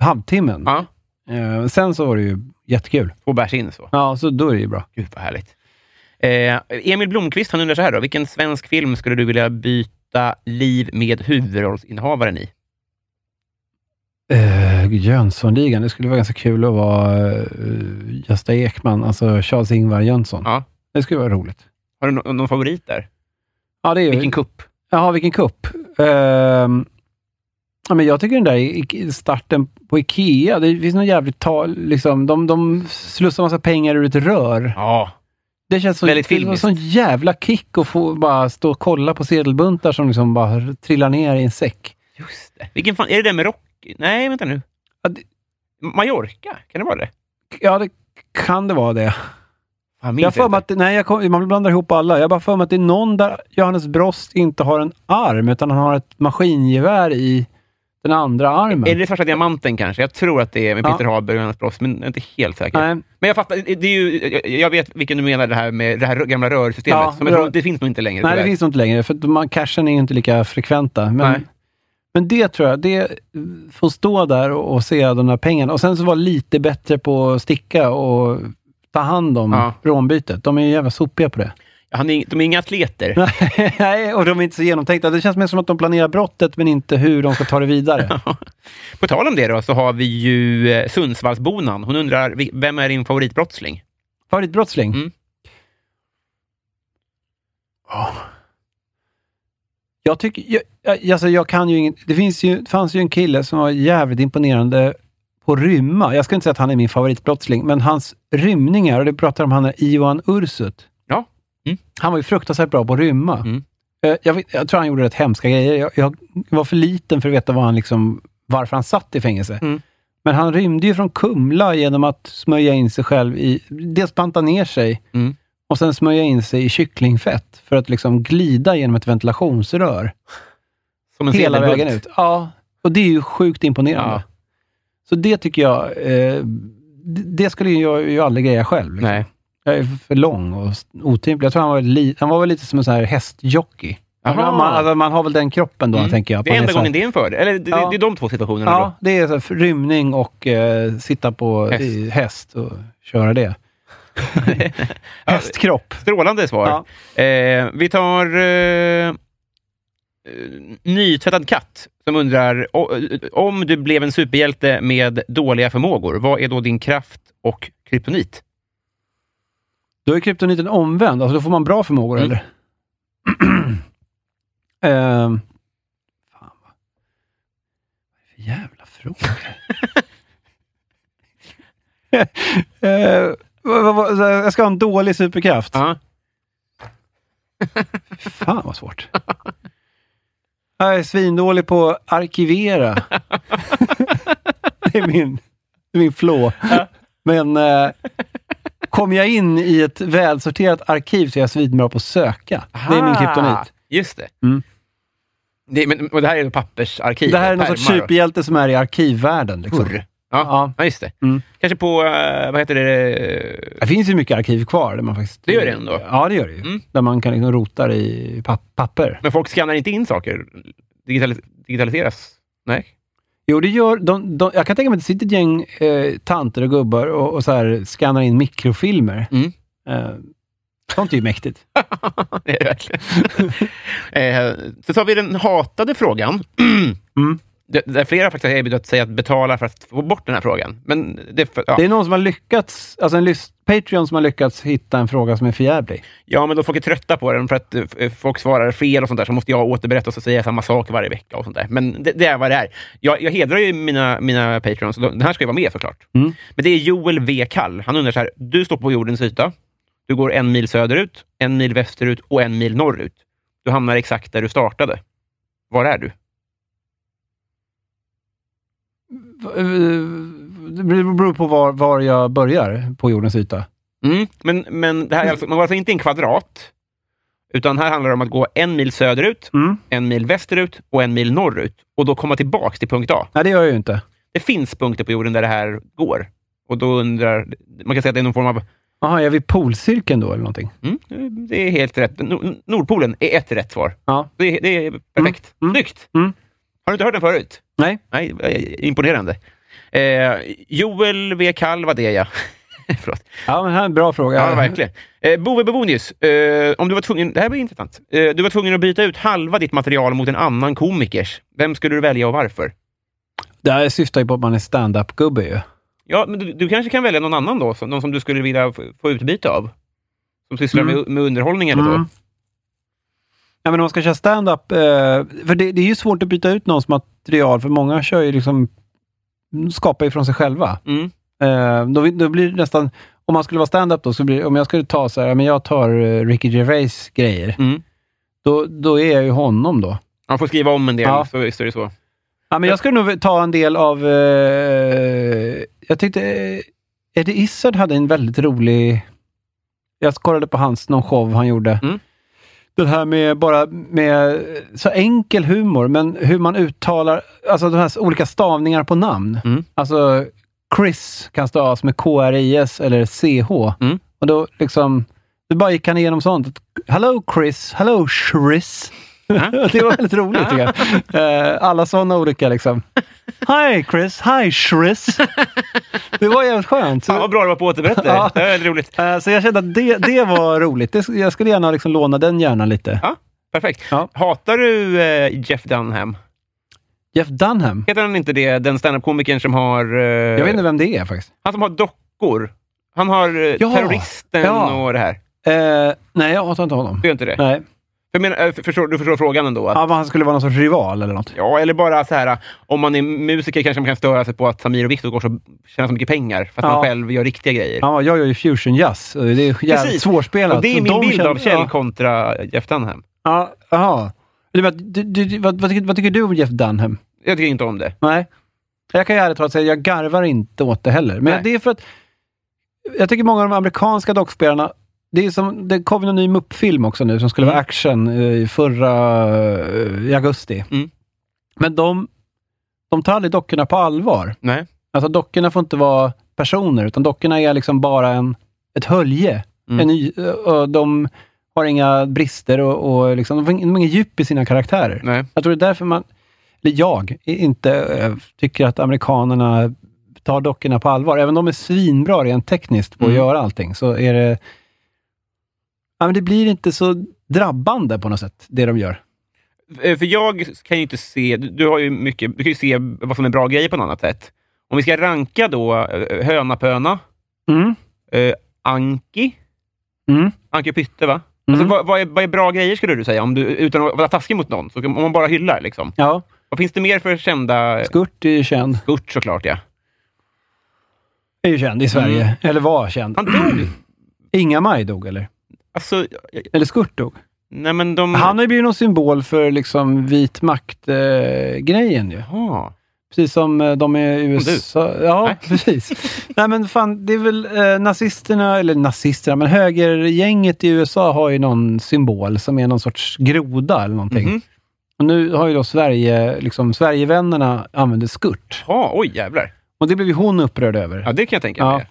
Speaker 2: halvtimmen.
Speaker 3: Ja,
Speaker 2: Eh, sen så var det ju jättekul.
Speaker 3: två bärs in så.
Speaker 2: Ja, så då är det ju bra.
Speaker 3: Gud vad härligt. Eh, Emil Blomqvist han undrar så här då. Vilken svensk film skulle du vilja byta liv med huvudrollsinnehavaren i?
Speaker 2: Uh, Jönssonligan, det skulle vara ganska kul att vara eh, Gösta Ekman, alltså Charles-Ingvar Jönsson.
Speaker 3: Ja.
Speaker 2: Det skulle vara roligt.
Speaker 3: Har du nå- någon favorit där?
Speaker 2: Ja, det är ju...
Speaker 3: Vilken kupp?
Speaker 2: Jaha, vilken kupp. Ehm, ja, men jag tycker den där i- i- starten på Ikea, det finns någon jävligt tal, liksom, de, de slussar massa pengar ur ett rör.
Speaker 3: Ja.
Speaker 2: Det känns som
Speaker 3: Väldigt
Speaker 2: en
Speaker 3: filmiskt.
Speaker 2: sån jävla kick att få bara stå och kolla på sedelbuntar som liksom bara trillar ner i en säck.
Speaker 3: Just det. Vilken fan... Är det den med Rocky? Nej, vänta nu.
Speaker 2: Ja, det-
Speaker 3: Mallorca? Kan det vara det?
Speaker 2: Ja, det kan det vara det.
Speaker 3: Fan, minns
Speaker 2: Jag har för
Speaker 3: inte.
Speaker 2: mig att, nej, jag kom, man blandar ihop alla. Jag har bara för mig att det är någon där Johannes Brost inte har en arm, utan han har ett maskingevär i den andra armen.
Speaker 3: Är det Svarta Diamanten kanske? Jag tror att det är med
Speaker 2: Ja.
Speaker 3: Peter Haber och Johannes Brost, men jag är inte helt säker.
Speaker 2: Nej.
Speaker 3: Men jag fattar, det är ju, jag- jag vet vilken du menar, det här med det här gamla rörsystemet.
Speaker 2: Ja,
Speaker 3: som jag tror,
Speaker 2: rör-
Speaker 3: det finns nog inte längre.
Speaker 2: Nej, det
Speaker 3: tyvärr.
Speaker 2: finns nog inte längre, för att man, cashen är ju inte lika frekventa.
Speaker 3: Nej.
Speaker 2: Men, men det tror jag, det får stå där och, och se de där pengarna. Och sen så vara lite bättre på att sticka och ta hand om
Speaker 3: Ja.
Speaker 2: rånbytet. De är ju jävla sopiga på det.
Speaker 3: Han är, de är inga atleter.
Speaker 2: Nej, och de är inte så genomtänkta. Det känns mer som att de planerar brottet, men inte hur de ska ta det vidare.
Speaker 3: På tal om det då, så har vi ju eh, Sundsvallsbonan. Hon undrar, vi- vem är din favoritbrottsling?
Speaker 2: Favoritbrottsling?
Speaker 3: Mm.
Speaker 2: Ja. Jag tycker... Jag, jag- alltså jag kan ju inget... Det finns ju, det fanns ju en kille som var jävligt imponerande på rymma. Jag ska inte säga att han är min favoritbrottsling, men hans rymningar, och det pratar om han är Ivan Ursut.
Speaker 3: Ja. Mm.
Speaker 2: Han var ju fruktansvärt bra på att rymma.
Speaker 3: Mm.
Speaker 2: Eh, Jag, vet- jag tror han gjorde rätt hemska grejer. Jag, jag var för liten för att veta vad han liksom, varför han satt i fängelse.
Speaker 3: Mm.
Speaker 2: Men han rymde ju från Kumla genom att smörja in sig själv i... Dels banta ner sig
Speaker 3: Mm.
Speaker 2: och sen smörja in sig i kycklingfett för att liksom glida genom ett ventilationsrör.
Speaker 1: Som en
Speaker 2: Hela
Speaker 1: sedelbunt.
Speaker 2: vägen ut. Ja, och det är ju sjukt imponerande.
Speaker 1: Ja.
Speaker 2: Så det tycker jag, eh, d- det skulle ju jag ju aldrig greja själv. Liksom.
Speaker 1: Nej.
Speaker 2: Jag är för lång och s- otymplig. Jag tror han var, li, han var väl lite som en sån här hästjockey. Man,
Speaker 1: Jaha. Mm.
Speaker 2: alltså, man har väl den kroppen då, tänker jag. att
Speaker 1: Det är
Speaker 2: man
Speaker 1: enda
Speaker 2: så här-
Speaker 1: gången det är en fördel. Eller det,
Speaker 2: Ja.
Speaker 1: det är de två situationerna.
Speaker 2: Ja, det är så här, för rymning och eh, sitta på
Speaker 1: Häst.
Speaker 2: häst, i, häst och köra det. Hästkropp.
Speaker 1: då. Strålande svar. Eh, vi tar eh, eh, Nytvättad katt som undrar "O- eh, om du blev en superhjälte med dåliga förmågor. Vad är då din kraft och kryptonit?
Speaker 2: Då är kryptoniten omvänd. Alltså, då får man bra förmågor,
Speaker 1: Mm.
Speaker 2: eller? Ehm, fan, vad- vad är det för jävla frågor? Eh, vad- vad- vad- så här, jag ska ha en dålig superkraft.
Speaker 1: Ja.
Speaker 2: Fan vad svårt. Jag är svindålig på att arkivera. det är min, det är min flå. Men eh, kommer jag in i ett välsorterat arkiv så är jag svinbra på att söka. Det är min kryptonit.
Speaker 1: Ah, Just det.
Speaker 2: Mm.
Speaker 1: det men, och det här är ju pappersarkiv.
Speaker 2: Det här är
Speaker 1: och
Speaker 2: någon sorts
Speaker 1: pärmar och-
Speaker 2: superhjälte som är i arkivvärlden. Liksom.
Speaker 1: Urr. Ja,
Speaker 2: Ja.
Speaker 1: ja, just det.
Speaker 2: Mm.
Speaker 1: Kanske på, eh, vad heter det,
Speaker 2: Det finns ju mycket arkiv kvar. Där man faktiskt,
Speaker 1: Det gör det ändå.
Speaker 2: Ja, det gör det ju.
Speaker 1: Mm.
Speaker 2: Där man kan liksom rota i papp- papper.
Speaker 1: Men folk skannar inte in saker? Digitali- digitaliseras? Nej?
Speaker 2: Jo, det gör... De, de, jag kan tänka mig att det sitter ett gäng eh, tanter och gubbar och, och så här skannar in mikrofilmer.
Speaker 1: Mm.
Speaker 2: Eh, sånt är ju mäktigt.
Speaker 1: det är det verkligen. eh, så tar vi den hatade frågan.
Speaker 2: Mm.
Speaker 1: Det- Där flera faktiskt har erbjudit sig att betala för att få bort den här frågan. Men det, är för- ja.
Speaker 2: Det är någon som har lyckats, alltså en lys, Patreon som har lyckats hitta en fråga som är förjävlig.
Speaker 1: ja, men då folk är trötta på den för att eh, f- eh, folk svarar fel och sånt där, så måste jag återberätta och så säga samma sak varje vecka. och sånt där. Men det, det är vad det är. Jag, jag hedrar ju mina, mina Patreons, och de- den här ska ju vara med såklart.
Speaker 2: Mm.
Speaker 1: Men det är Joel V. Kall. Han undrar så här, du står på jordens yta. Du går en mil söderut, en mil västerut och en mil norrut. Du hamnar exakt där du startade. Var är du?
Speaker 2: Eh, Det beror på var, var jag börjar på jordens yta.
Speaker 1: Mm, men, men det här är alltså, man går alltså inte i en kvadrat, utan här handlar det om att gå en mil söderut,
Speaker 2: Mm.
Speaker 1: en mil västerut och en mil norrut och då komma tillbaka till punkt A.
Speaker 2: Nej, det gör jag ju inte.
Speaker 1: Det finns punkter på jorden där det här går. Och då undrar, man kan säga att det är någon form av...
Speaker 2: Jaha, jag är vid polcirkeln då eller någonting?
Speaker 1: Mm, det är helt rätt. Nor- Nordpolen är ett rätt svar.
Speaker 2: Ja.
Speaker 1: Det, är- det är perfekt.
Speaker 2: Mm, mm,
Speaker 1: Snyggt!
Speaker 2: mm.
Speaker 1: Har du inte hört den förut?
Speaker 2: Nej.
Speaker 1: Nej, eh, imponerande. Eh, Joel V. Kall var det, ja. Förlåt.
Speaker 2: Ja, men här är en bra fråga.
Speaker 1: Ja, verkligen. Eh, Bove Bebonius, eh, om du var tvungen, det här blir intressant. Eh, du var tvungen att byta ut halva ditt material mot en annan komikers. Vem skulle du välja och varför?
Speaker 2: Det här syftar ju på att man är stand-up-gubbe ju.
Speaker 1: Ja, men du, du kanske kan välja någon annan då, som, någon som du skulle vilja f- få utbyte av? Som sysslar
Speaker 2: Mm.
Speaker 1: med, med underhållning eller så?
Speaker 2: Mm. Ja, men om man ska köra stand-up, eh, för det, det är ju svårt att byta ut någons material, för många kör ju liksom, skapar ju från sig själva.
Speaker 1: Mm.
Speaker 2: Eh, då, då blir det nästan, om man skulle vara stand-up då, så blir, om jag skulle ta så här, ja, men jag tar eh, Ricky Gervais grejer,
Speaker 1: Mm.
Speaker 2: då, då är jag ju honom då.
Speaker 1: Man får skriva om en del,
Speaker 2: Ja.
Speaker 1: så visst är det så.
Speaker 2: Ja, men jag skulle nog ta en del av, eh, jag tyckte eh, Eddie Izzard hade en väldigt rolig, jag kollade på hans, någon show han gjorde.
Speaker 1: Mm.
Speaker 2: Den här med bara med så enkel humor, men hur man uttalar, alltså de här olika stavningar på namn.
Speaker 1: Mm.
Speaker 2: Alltså Chris kan stavas med K-R-I-S eller C-H.
Speaker 1: Mm.
Speaker 2: Och då liksom, då bara gick han igenom sånt. Att, Hello Chris, hello Chris. det var väldigt roligt tycker jag. Eh, Alla sådana olika liksom. Hi Chris, hi Chris. Det var jävligt skönt.
Speaker 1: Fan vad bra det var på återberättelse.
Speaker 2: Ja.
Speaker 1: Det var väldigt roligt.
Speaker 2: Eh, Så jag kände att det, det var roligt. Det, jag skulle gärna liksom låna den hjärnan lite.
Speaker 1: Ja, perfekt.
Speaker 2: Ja.
Speaker 1: Hatar du eh, Jeff Dunham?
Speaker 2: Jeff Dunham.
Speaker 1: Heter han inte det, den standup-komikern som har... eh,
Speaker 2: Jag vet inte vem det är faktiskt.
Speaker 1: Han som har dockor. Han har eh,
Speaker 2: Ja.
Speaker 1: terroristen
Speaker 2: Ja.
Speaker 1: och det här.
Speaker 2: Eh, nej, jag hatar inte honom.
Speaker 1: Du gör inte det?
Speaker 2: Nej.
Speaker 1: Jag menar, eh, för- förstår, du förstår frågan ändå? Att,
Speaker 2: Ja, men han skulle vara någon sorts rival eller något.
Speaker 1: ja, eller bara så här, eh, om man är musiker kanske man kan störa sig på att Samir och Viktor går så, tjänar så mycket pengar för att
Speaker 2: Ja.
Speaker 1: man själv gör riktiga grejer.
Speaker 2: Ja, jag gör ju fusion jazz. och Det är jävligt
Speaker 1: Precis.
Speaker 2: svårspelat.
Speaker 1: Och det är
Speaker 2: Så
Speaker 1: min
Speaker 2: de
Speaker 1: bild
Speaker 2: känner-
Speaker 1: av Kjell
Speaker 2: Ja,
Speaker 1: kontra Jeff Dunham.
Speaker 2: Ja, jaha. Du, menar att du, du, du- vad, vad, tycker, vad tycker du om Jeff Dunham?
Speaker 1: Jag tycker inte om det.
Speaker 2: Nej. Jag kan ju ärligt talat säga, jag garvar inte åt det heller. Men
Speaker 1: Nej.
Speaker 2: det är för att jag tycker många av de amerikanska dockspelarna, det, är som, det kom ju
Speaker 1: Mm.
Speaker 2: någon ny Mupp-film också nu som skulle vara action eh, i förra eh, i augusti.
Speaker 1: Mm.
Speaker 2: Men de, de tar aldrig dockorna på allvar.
Speaker 3: Nej.
Speaker 2: Alltså dockorna får inte vara personer, utan dockorna är liksom bara en, ett hölje.
Speaker 3: Mm.
Speaker 2: En ny, och de har inga brister och, och liksom, de har ing- de har inget djup i sina karaktärer.
Speaker 3: Nej.
Speaker 2: Jag tror det är därför man, eller jag, i- inte eh, tycker att amerikanerna tar dockorna på allvar. Även om de är svinbra rent tekniskt på att
Speaker 3: Mm.
Speaker 2: göra allting, så är det... Ja, men det blir inte så drabbande på något sätt, det de gör.
Speaker 3: Eh, För jag kan ju inte se... Du, du har ju mycket... Du kan ju se vad som är bra grejer på något annat sätt. Om vi ska ranka då eh, hönapöna,
Speaker 2: Mm.
Speaker 3: eh, Anki,
Speaker 2: Mm.
Speaker 3: Anki och Pytte va?
Speaker 2: Mm.
Speaker 3: Alltså, vad, vad, är, vad är bra grejer skulle du säga, om du, utan att vara taskig mot någon? Så, om man bara hyllar liksom.
Speaker 2: Ja,
Speaker 3: Vad finns det mer för kända...
Speaker 2: Skurt är ju känd.
Speaker 3: Skurt såklart ja. Mm.
Speaker 2: Är ju känd i Sverige. Eller var känd.
Speaker 3: Han dog!
Speaker 2: Inga-Maj dog, eller?
Speaker 3: Alltså, jag-
Speaker 2: Eller Skurt dog.
Speaker 3: nej men de...
Speaker 2: Han har ju blivit någon symbol för liksom vit makt-grejen ju.
Speaker 3: Jaha.
Speaker 2: Precis som eh, de är i
Speaker 3: du.
Speaker 2: USA. Ja,
Speaker 3: Nej.
Speaker 2: precis. Nej, men fan, det är väl eh, nazisterna, eller nazisterna, men högergänget i USA har ju någon symbol som är någon sorts groda eller någonting.
Speaker 3: Mhm.
Speaker 2: Och nu har ju då Sverige, liksom Sverigevännerna använder skurt.
Speaker 3: Ja, oj jävlar.
Speaker 2: Och det blev ju hon upprörd över.
Speaker 3: Ja, det kan jag tänka
Speaker 2: Ja.
Speaker 3: mig.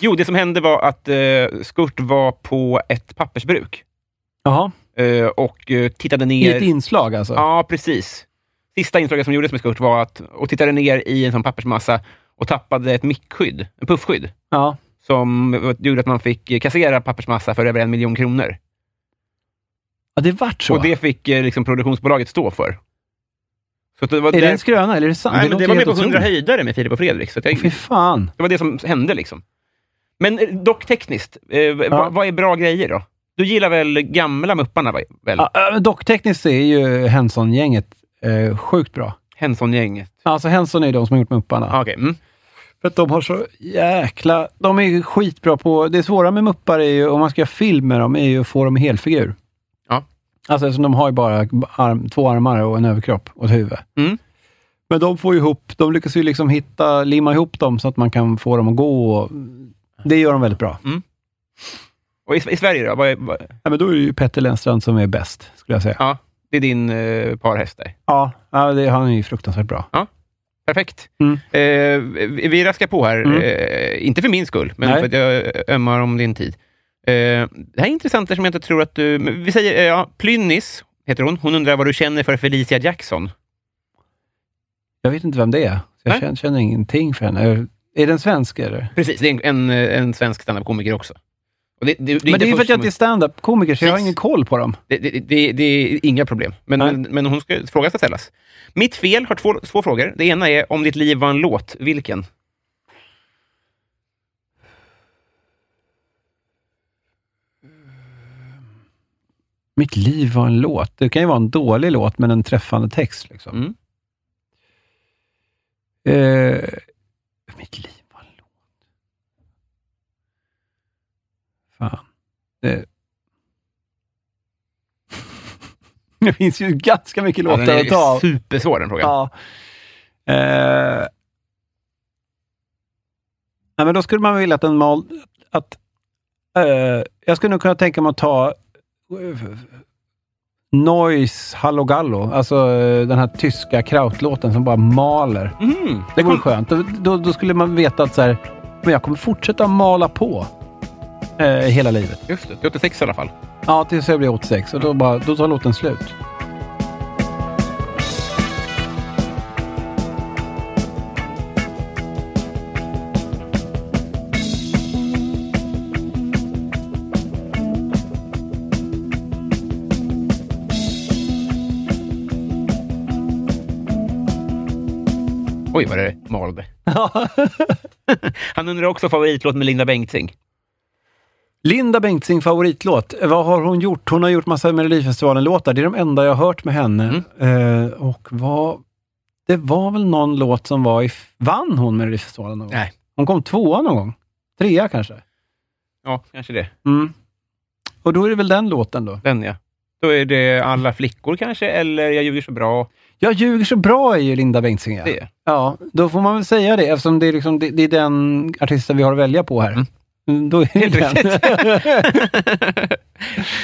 Speaker 3: Jo, det som hände var att eh, Skurt var på ett pappersbruk
Speaker 2: Jaha.
Speaker 3: eh, och eh, tittade
Speaker 2: I ett
Speaker 3: ner...
Speaker 2: inslag alltså?
Speaker 3: Ja, precis. Sista inslaget som gjordes med Skurt var att... Och tittade ner i en sån pappersmassa och tappade ett mickskydd, en puffskydd,
Speaker 2: Ja.
Speaker 3: som eh, gjorde att man fick eh, kassera pappersmassa för över en miljon kronor.
Speaker 2: ja det vart så.
Speaker 3: Och det fick eh, liksom, produktionsbolaget stå för. Så att det var
Speaker 2: är det
Speaker 3: där-
Speaker 2: en skröna eller är det sant?
Speaker 3: Nej, men det
Speaker 2: låter
Speaker 3: var med
Speaker 2: helt
Speaker 3: på 100
Speaker 2: otroligt.
Speaker 3: höjdare med Filip och Fredrik. Så att jag,
Speaker 2: Fy fan.
Speaker 3: Det var det som hände liksom. Men eh, dock tekniskt, eh, v-
Speaker 2: Ja.
Speaker 3: vad, vad är bra grejer då? Du gillar väl gamla Mupparna? va- Väl?
Speaker 2: Ja, äh, dock tekniskt är ju Henson-gänget eh, sjukt bra.
Speaker 3: Henson-gänget?
Speaker 2: Alltså Henson är ju de som har gjort Mupparna.
Speaker 3: Ah, Okej. Mm.
Speaker 2: För att de har så jäkla... De är ju skitbra på... Det svåra med muppar är ju, om man ska göra film med dem, är ju att få dem i helfigur.
Speaker 3: Ja.
Speaker 2: Alltså eftersom de har ju bara arm, två armar och en överkropp och ett huvud.
Speaker 3: Mm.
Speaker 2: Men de får ju ihop, de lyckas ju liksom hitta, limma ihop dem så att man kan få dem att gå. Och, det gör de väldigt
Speaker 3: Mm.
Speaker 2: bra.
Speaker 3: Och i, i Sverige då? Vad är, vad,
Speaker 2: Ja, men då är det ju Petter Lennstrand som är bäst, skulle jag säga.
Speaker 3: ja, det är din eh, parhäst där.
Speaker 2: Ja, ja det, han är ju fruktansvärt bra.
Speaker 3: Perfekt.
Speaker 2: Mm.
Speaker 3: Eh, vi vi raskar på här.
Speaker 2: Mm.
Speaker 3: Eh, inte för min skull, men
Speaker 2: Nej.
Speaker 3: för att jag ömmar om din tid. Eh, det här är intressant som jag inte tror att du... men Vi säger eh, ja, Plynnis, heter hon. Hon undrar vad du känner för Felicia Jackson.
Speaker 2: Jag vet inte vem det är. Så jag
Speaker 3: Nej.
Speaker 2: känner, känner ingenting för henne. Är, är den svensk eller?
Speaker 3: Precis, det är en, en, en svensk standup-komiker också. Och det, det, det, är
Speaker 2: men
Speaker 3: inte
Speaker 2: det är ju för att
Speaker 3: först
Speaker 2: jag inte är
Speaker 3: som-
Speaker 2: standup-komiker, så jag har
Speaker 3: Precis.
Speaker 2: ingen koll på dem.
Speaker 3: Det, det, det, det är inga problem. Men,
Speaker 2: Nej.
Speaker 3: men, men hon ska, frågan ska ställas. Mitt fel har två, två frågor. Det ena är om ditt liv var en låt, vilken?
Speaker 2: Mitt liv var en låt. Det kan ju vara en dålig låt, men en träffande text. Liksom.
Speaker 3: Mm.
Speaker 2: Eh, mitt liv var en låt. Fan. Eh. Det finns ju ganska mycket
Speaker 3: Ja, den
Speaker 2: låtar att ta
Speaker 3: är
Speaker 2: av.
Speaker 3: supersvår den frågan.
Speaker 2: Ja. Eh. Nej, men då skulle man vilja att en mal... Att, eh, jag skulle nog kunna tänka mig att ta eh, Noise Hallo Gallo, alltså eh, den här tyska krautlåten som bara maler.
Speaker 3: Mm.
Speaker 2: Det vore skönt. Då, då, då skulle man veta att så här, men jag kommer fortsätta mala på eh, hela livet.
Speaker 3: Just det, till 86 i alla fall.
Speaker 2: Ja, tills jag blir 86 och då, bara, då tar låten slut.
Speaker 3: Oj, vad det malde. Han undrar också favoritlåt med Linda Bengtzing.
Speaker 2: Linda Bengtzing favoritlåt. Vad har hon gjort? Hon har gjort massa Melodifestivalen-låtar. Det är de enda jag har hört med henne.
Speaker 3: Mm.
Speaker 2: Eh, och vad... Det var väl någon låt som var i... Vann hon Melodifestivalen någon gång?
Speaker 3: Nej.
Speaker 2: Hon kom tvåa någon gång. Trea kanske.
Speaker 3: Ja, kanske det.
Speaker 2: Mm. Och då är det väl den låten då.
Speaker 3: Den ja. Då är det Alla flickor kanske, eller Jag ljuger så bra.
Speaker 2: Jag ljuger så bra är ju Linda Bengtzing. Ja.
Speaker 3: Det.
Speaker 2: ja, då får man väl säga det eftersom det är, liksom, det, det är den artisten vi har att välja på här. Mm, Då är det
Speaker 3: Helt
Speaker 2: den.
Speaker 3: riktigt.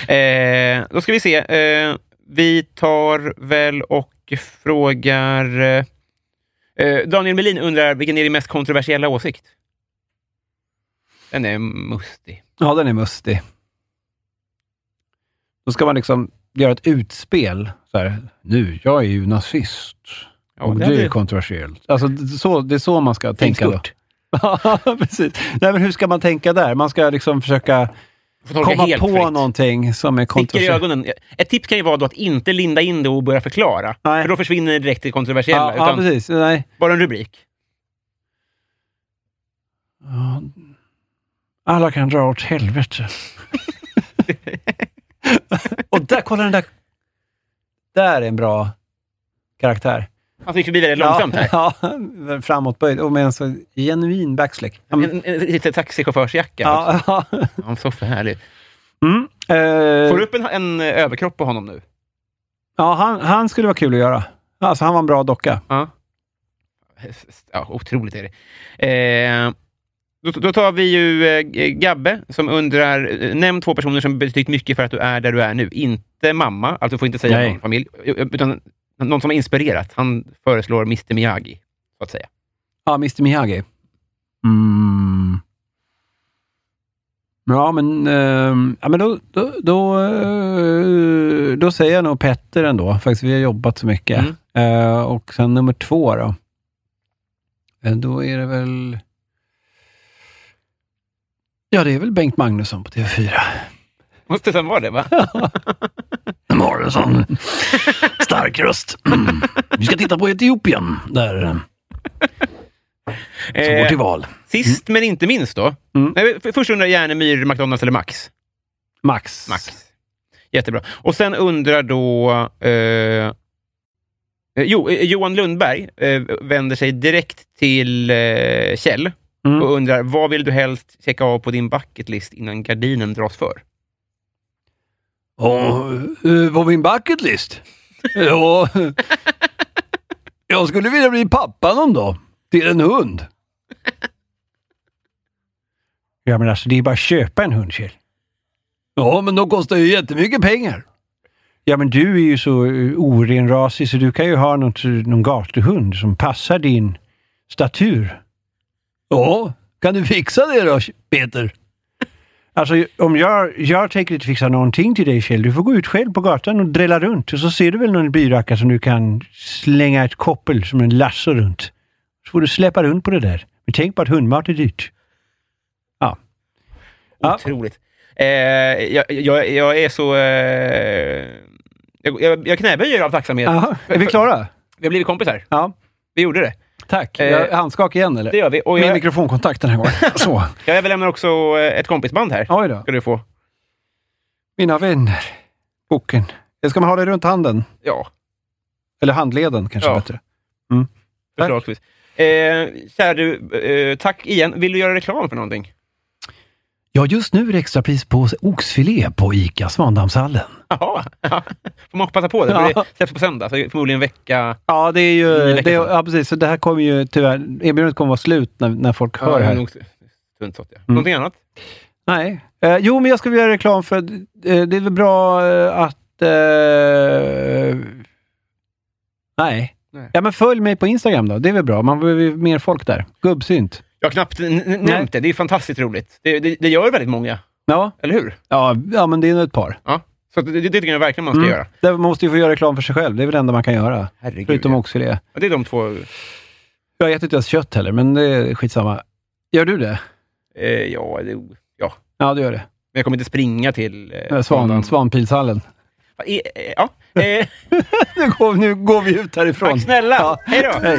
Speaker 3: eh, då ska vi se. Eh, Vi tar väl och frågar... eh, Daniel Melin undrar, vilken är din mest kontroversiella åsikt? Den är mustig.
Speaker 2: Ja, den är mustig. Då ska man liksom göra ett utspel. Så här, nu, jag är ju nazist.
Speaker 3: Ja,
Speaker 2: och
Speaker 3: det
Speaker 2: det,
Speaker 3: hade-
Speaker 2: är kontroversiellt. Alltså, det, är så, det är så man ska
Speaker 3: Tänk
Speaker 2: tänka. då.
Speaker 3: stort.
Speaker 2: Ja, precis. Nej, men hur ska man tänka där? Man ska liksom försöka
Speaker 3: Får tolka
Speaker 2: komma
Speaker 3: helt
Speaker 2: på
Speaker 3: fritt.
Speaker 2: någonting som är
Speaker 3: Sticker i
Speaker 2: kontroversiellt.
Speaker 3: ögonen. Ett tips kan ju vara då att inte linda in det och börja förklara.
Speaker 2: Nej.
Speaker 3: För då försvinner det direkt det kontroversiella.
Speaker 2: Ja, ja,
Speaker 3: utan
Speaker 2: precis. Nej.
Speaker 3: bara en rubrik.
Speaker 1: Ja. Alla kan dra åt helvete.
Speaker 2: Och där, kolla den där. Där är en bra karaktär.
Speaker 3: Han gick förbi väldigt långsamt här.
Speaker 2: Ja, ja framåtböjd och med en så genuin backslick. Ja, men-
Speaker 3: En, en, lite taxichaufförsjacka. också.
Speaker 2: ja, ja.
Speaker 3: Han såg för härlig.
Speaker 2: Mm. Eh,
Speaker 3: Får du upp en, en överkropp på honom nu?
Speaker 2: Ja, han, han skulle vara kul att göra. Alltså, han var en bra docka.
Speaker 3: Ja. ja otroligt är det. Eh, då, då tar vi ju eh, Gabbe som undrar, eh, nämn två personer som betytt mycket för att du är där du är nu. Inte mamma, alltså du får inte säga
Speaker 2: Nej.
Speaker 3: någon familj, utan någon som har inspirerat. Han föreslår Mr Miyagi, så att säga.
Speaker 2: Ja, Mr Miyagi. Mm. Ja, men, ehm, ja, men då, då, då, eh, då säger jag nog Petter ändå. Faktiskt, vi har jobbat så mycket.
Speaker 3: Mm.
Speaker 2: Eh, och sen nummer två då. Eh, då är det väl... Ja, det är väl Bengt Magnusson på TV4.
Speaker 3: Måste sen vara det, va?
Speaker 1: Morrison. Stark röst. Mm. Vi ska titta på Etiopien, där eh, som går till
Speaker 3: Eh,
Speaker 1: val.
Speaker 3: sist men inte minst då.
Speaker 2: Mm.
Speaker 3: Nej, för- först undrar Järnemyr, McDonalds eller Max?
Speaker 2: Max.
Speaker 3: Max. Jättebra. Och sen undrar då... Eh, eh, jo, eh, Johan Lundberg eh, vänder sig direkt till eh, Kjell
Speaker 2: Mm.
Speaker 3: och undrar vad vill du helst checka av på din bucketlist innan gardinen dras för?
Speaker 1: Och, eh, på min bucket list? Ja, jag skulle vilja bli pappa någon dag. Till en hund.
Speaker 2: Ja, men alltså, det är bara att köpa en hund, Kjell.
Speaker 1: Ja, men de kostar ju jättemycket pengar.
Speaker 2: Ja, men du är ju så eh, orenrasig så du kan ju ha något, eh, någon gatuhund som passar din statur.
Speaker 1: Ja, kan du fixa det då, Peter?
Speaker 2: Alltså, om jag, jag tänker inte fixa någonting till dig Kjell. Du får gå ut själv på gatan och drälla runt. Och så ser du väl någon byracka som du kan slänga ett koppel som en lasso runt. Så får du släppa runt på det där. Men tänk på att hundmat är dyrt. Ja.
Speaker 3: Otroligt. Eh, jag, jag, jag är så... Eh, jag, jag, jag knäböjer av tacksamhet.
Speaker 2: Aha, är vi klara?
Speaker 3: Vi har blivit kompisar.
Speaker 2: Ja.
Speaker 3: Vi gjorde det.
Speaker 2: Tack.
Speaker 3: Eh,
Speaker 2: Jag- handskak igen eller?
Speaker 3: Det gör vi. Och
Speaker 2: Med
Speaker 3: jag,
Speaker 2: mikrofonkontakt den här gången. Så.
Speaker 3: jag överlämnar också eh, ett kompisband här.
Speaker 2: Oj då.
Speaker 3: Ska du få.
Speaker 2: Mina vänner. Boken. Eh, Ska man ha det runt handen?
Speaker 3: Ja.
Speaker 2: Eller handleden kanske
Speaker 3: Ja.
Speaker 2: bättre. Tack.
Speaker 3: Förslagsvis. Eh, kära du, eh, tack igen. Vill du göra reklam för någonting?
Speaker 1: Ja, just nu är det extrapris på oxfilé på ICA Svandammshallen.
Speaker 3: Jaha. Får man passa på det? För det släpps på söndag, så förmodligen vecka...
Speaker 2: Ja, det är
Speaker 3: I
Speaker 2: ju...
Speaker 3: veckan
Speaker 2: Det, är-
Speaker 3: sen.
Speaker 2: ja, precis. Så det här kommer ju tyvärr... Erbjudandet kommer vara slut när, när folk hör det Mm.
Speaker 3: Ja,
Speaker 2: här.
Speaker 3: nog- Tunt sånt, ja. Någonting annat?
Speaker 2: Nej. Eh, jo, men jag skulle vilja göra reklam för... eh, det är väl bra eh, att... Eh, nej.
Speaker 3: Nej.
Speaker 2: Ja, men följ mig på Instagram då. Det är väl bra. Man behöver ju mer folk där. Gubbsynt.
Speaker 3: Jag har knappt n- n- nämnt det. Det är fantastiskt roligt. Det, det, det gör väldigt många,
Speaker 2: Ja,
Speaker 3: eller hur?
Speaker 2: ja, ja men det är nog ett par.
Speaker 3: Ja. Så det, det tycker jag verkligen man ska göra.
Speaker 2: Där man måste ju få göra reklam för sig själv. Det är väl det enda man kan göra.
Speaker 3: Herregud.
Speaker 2: Förutom
Speaker 3: ja.
Speaker 2: oxfilé.
Speaker 3: Ja, det är de två...
Speaker 2: Jag äter inte ens kött heller, men det är skitsamma. Gör du det?
Speaker 3: Eh, ja, det, ja, men
Speaker 2: Ja, du gör det.
Speaker 3: jag kommer inte springa till... Eh,
Speaker 2: Svan,
Speaker 3: Svanland.
Speaker 2: Svanpilshallen.
Speaker 3: Va, i- eh, Ja. Eh,
Speaker 2: Nu går, nu går vi ut härifrån.
Speaker 3: tack snälla!
Speaker 2: Ja.
Speaker 3: Hej då!
Speaker 2: Hej.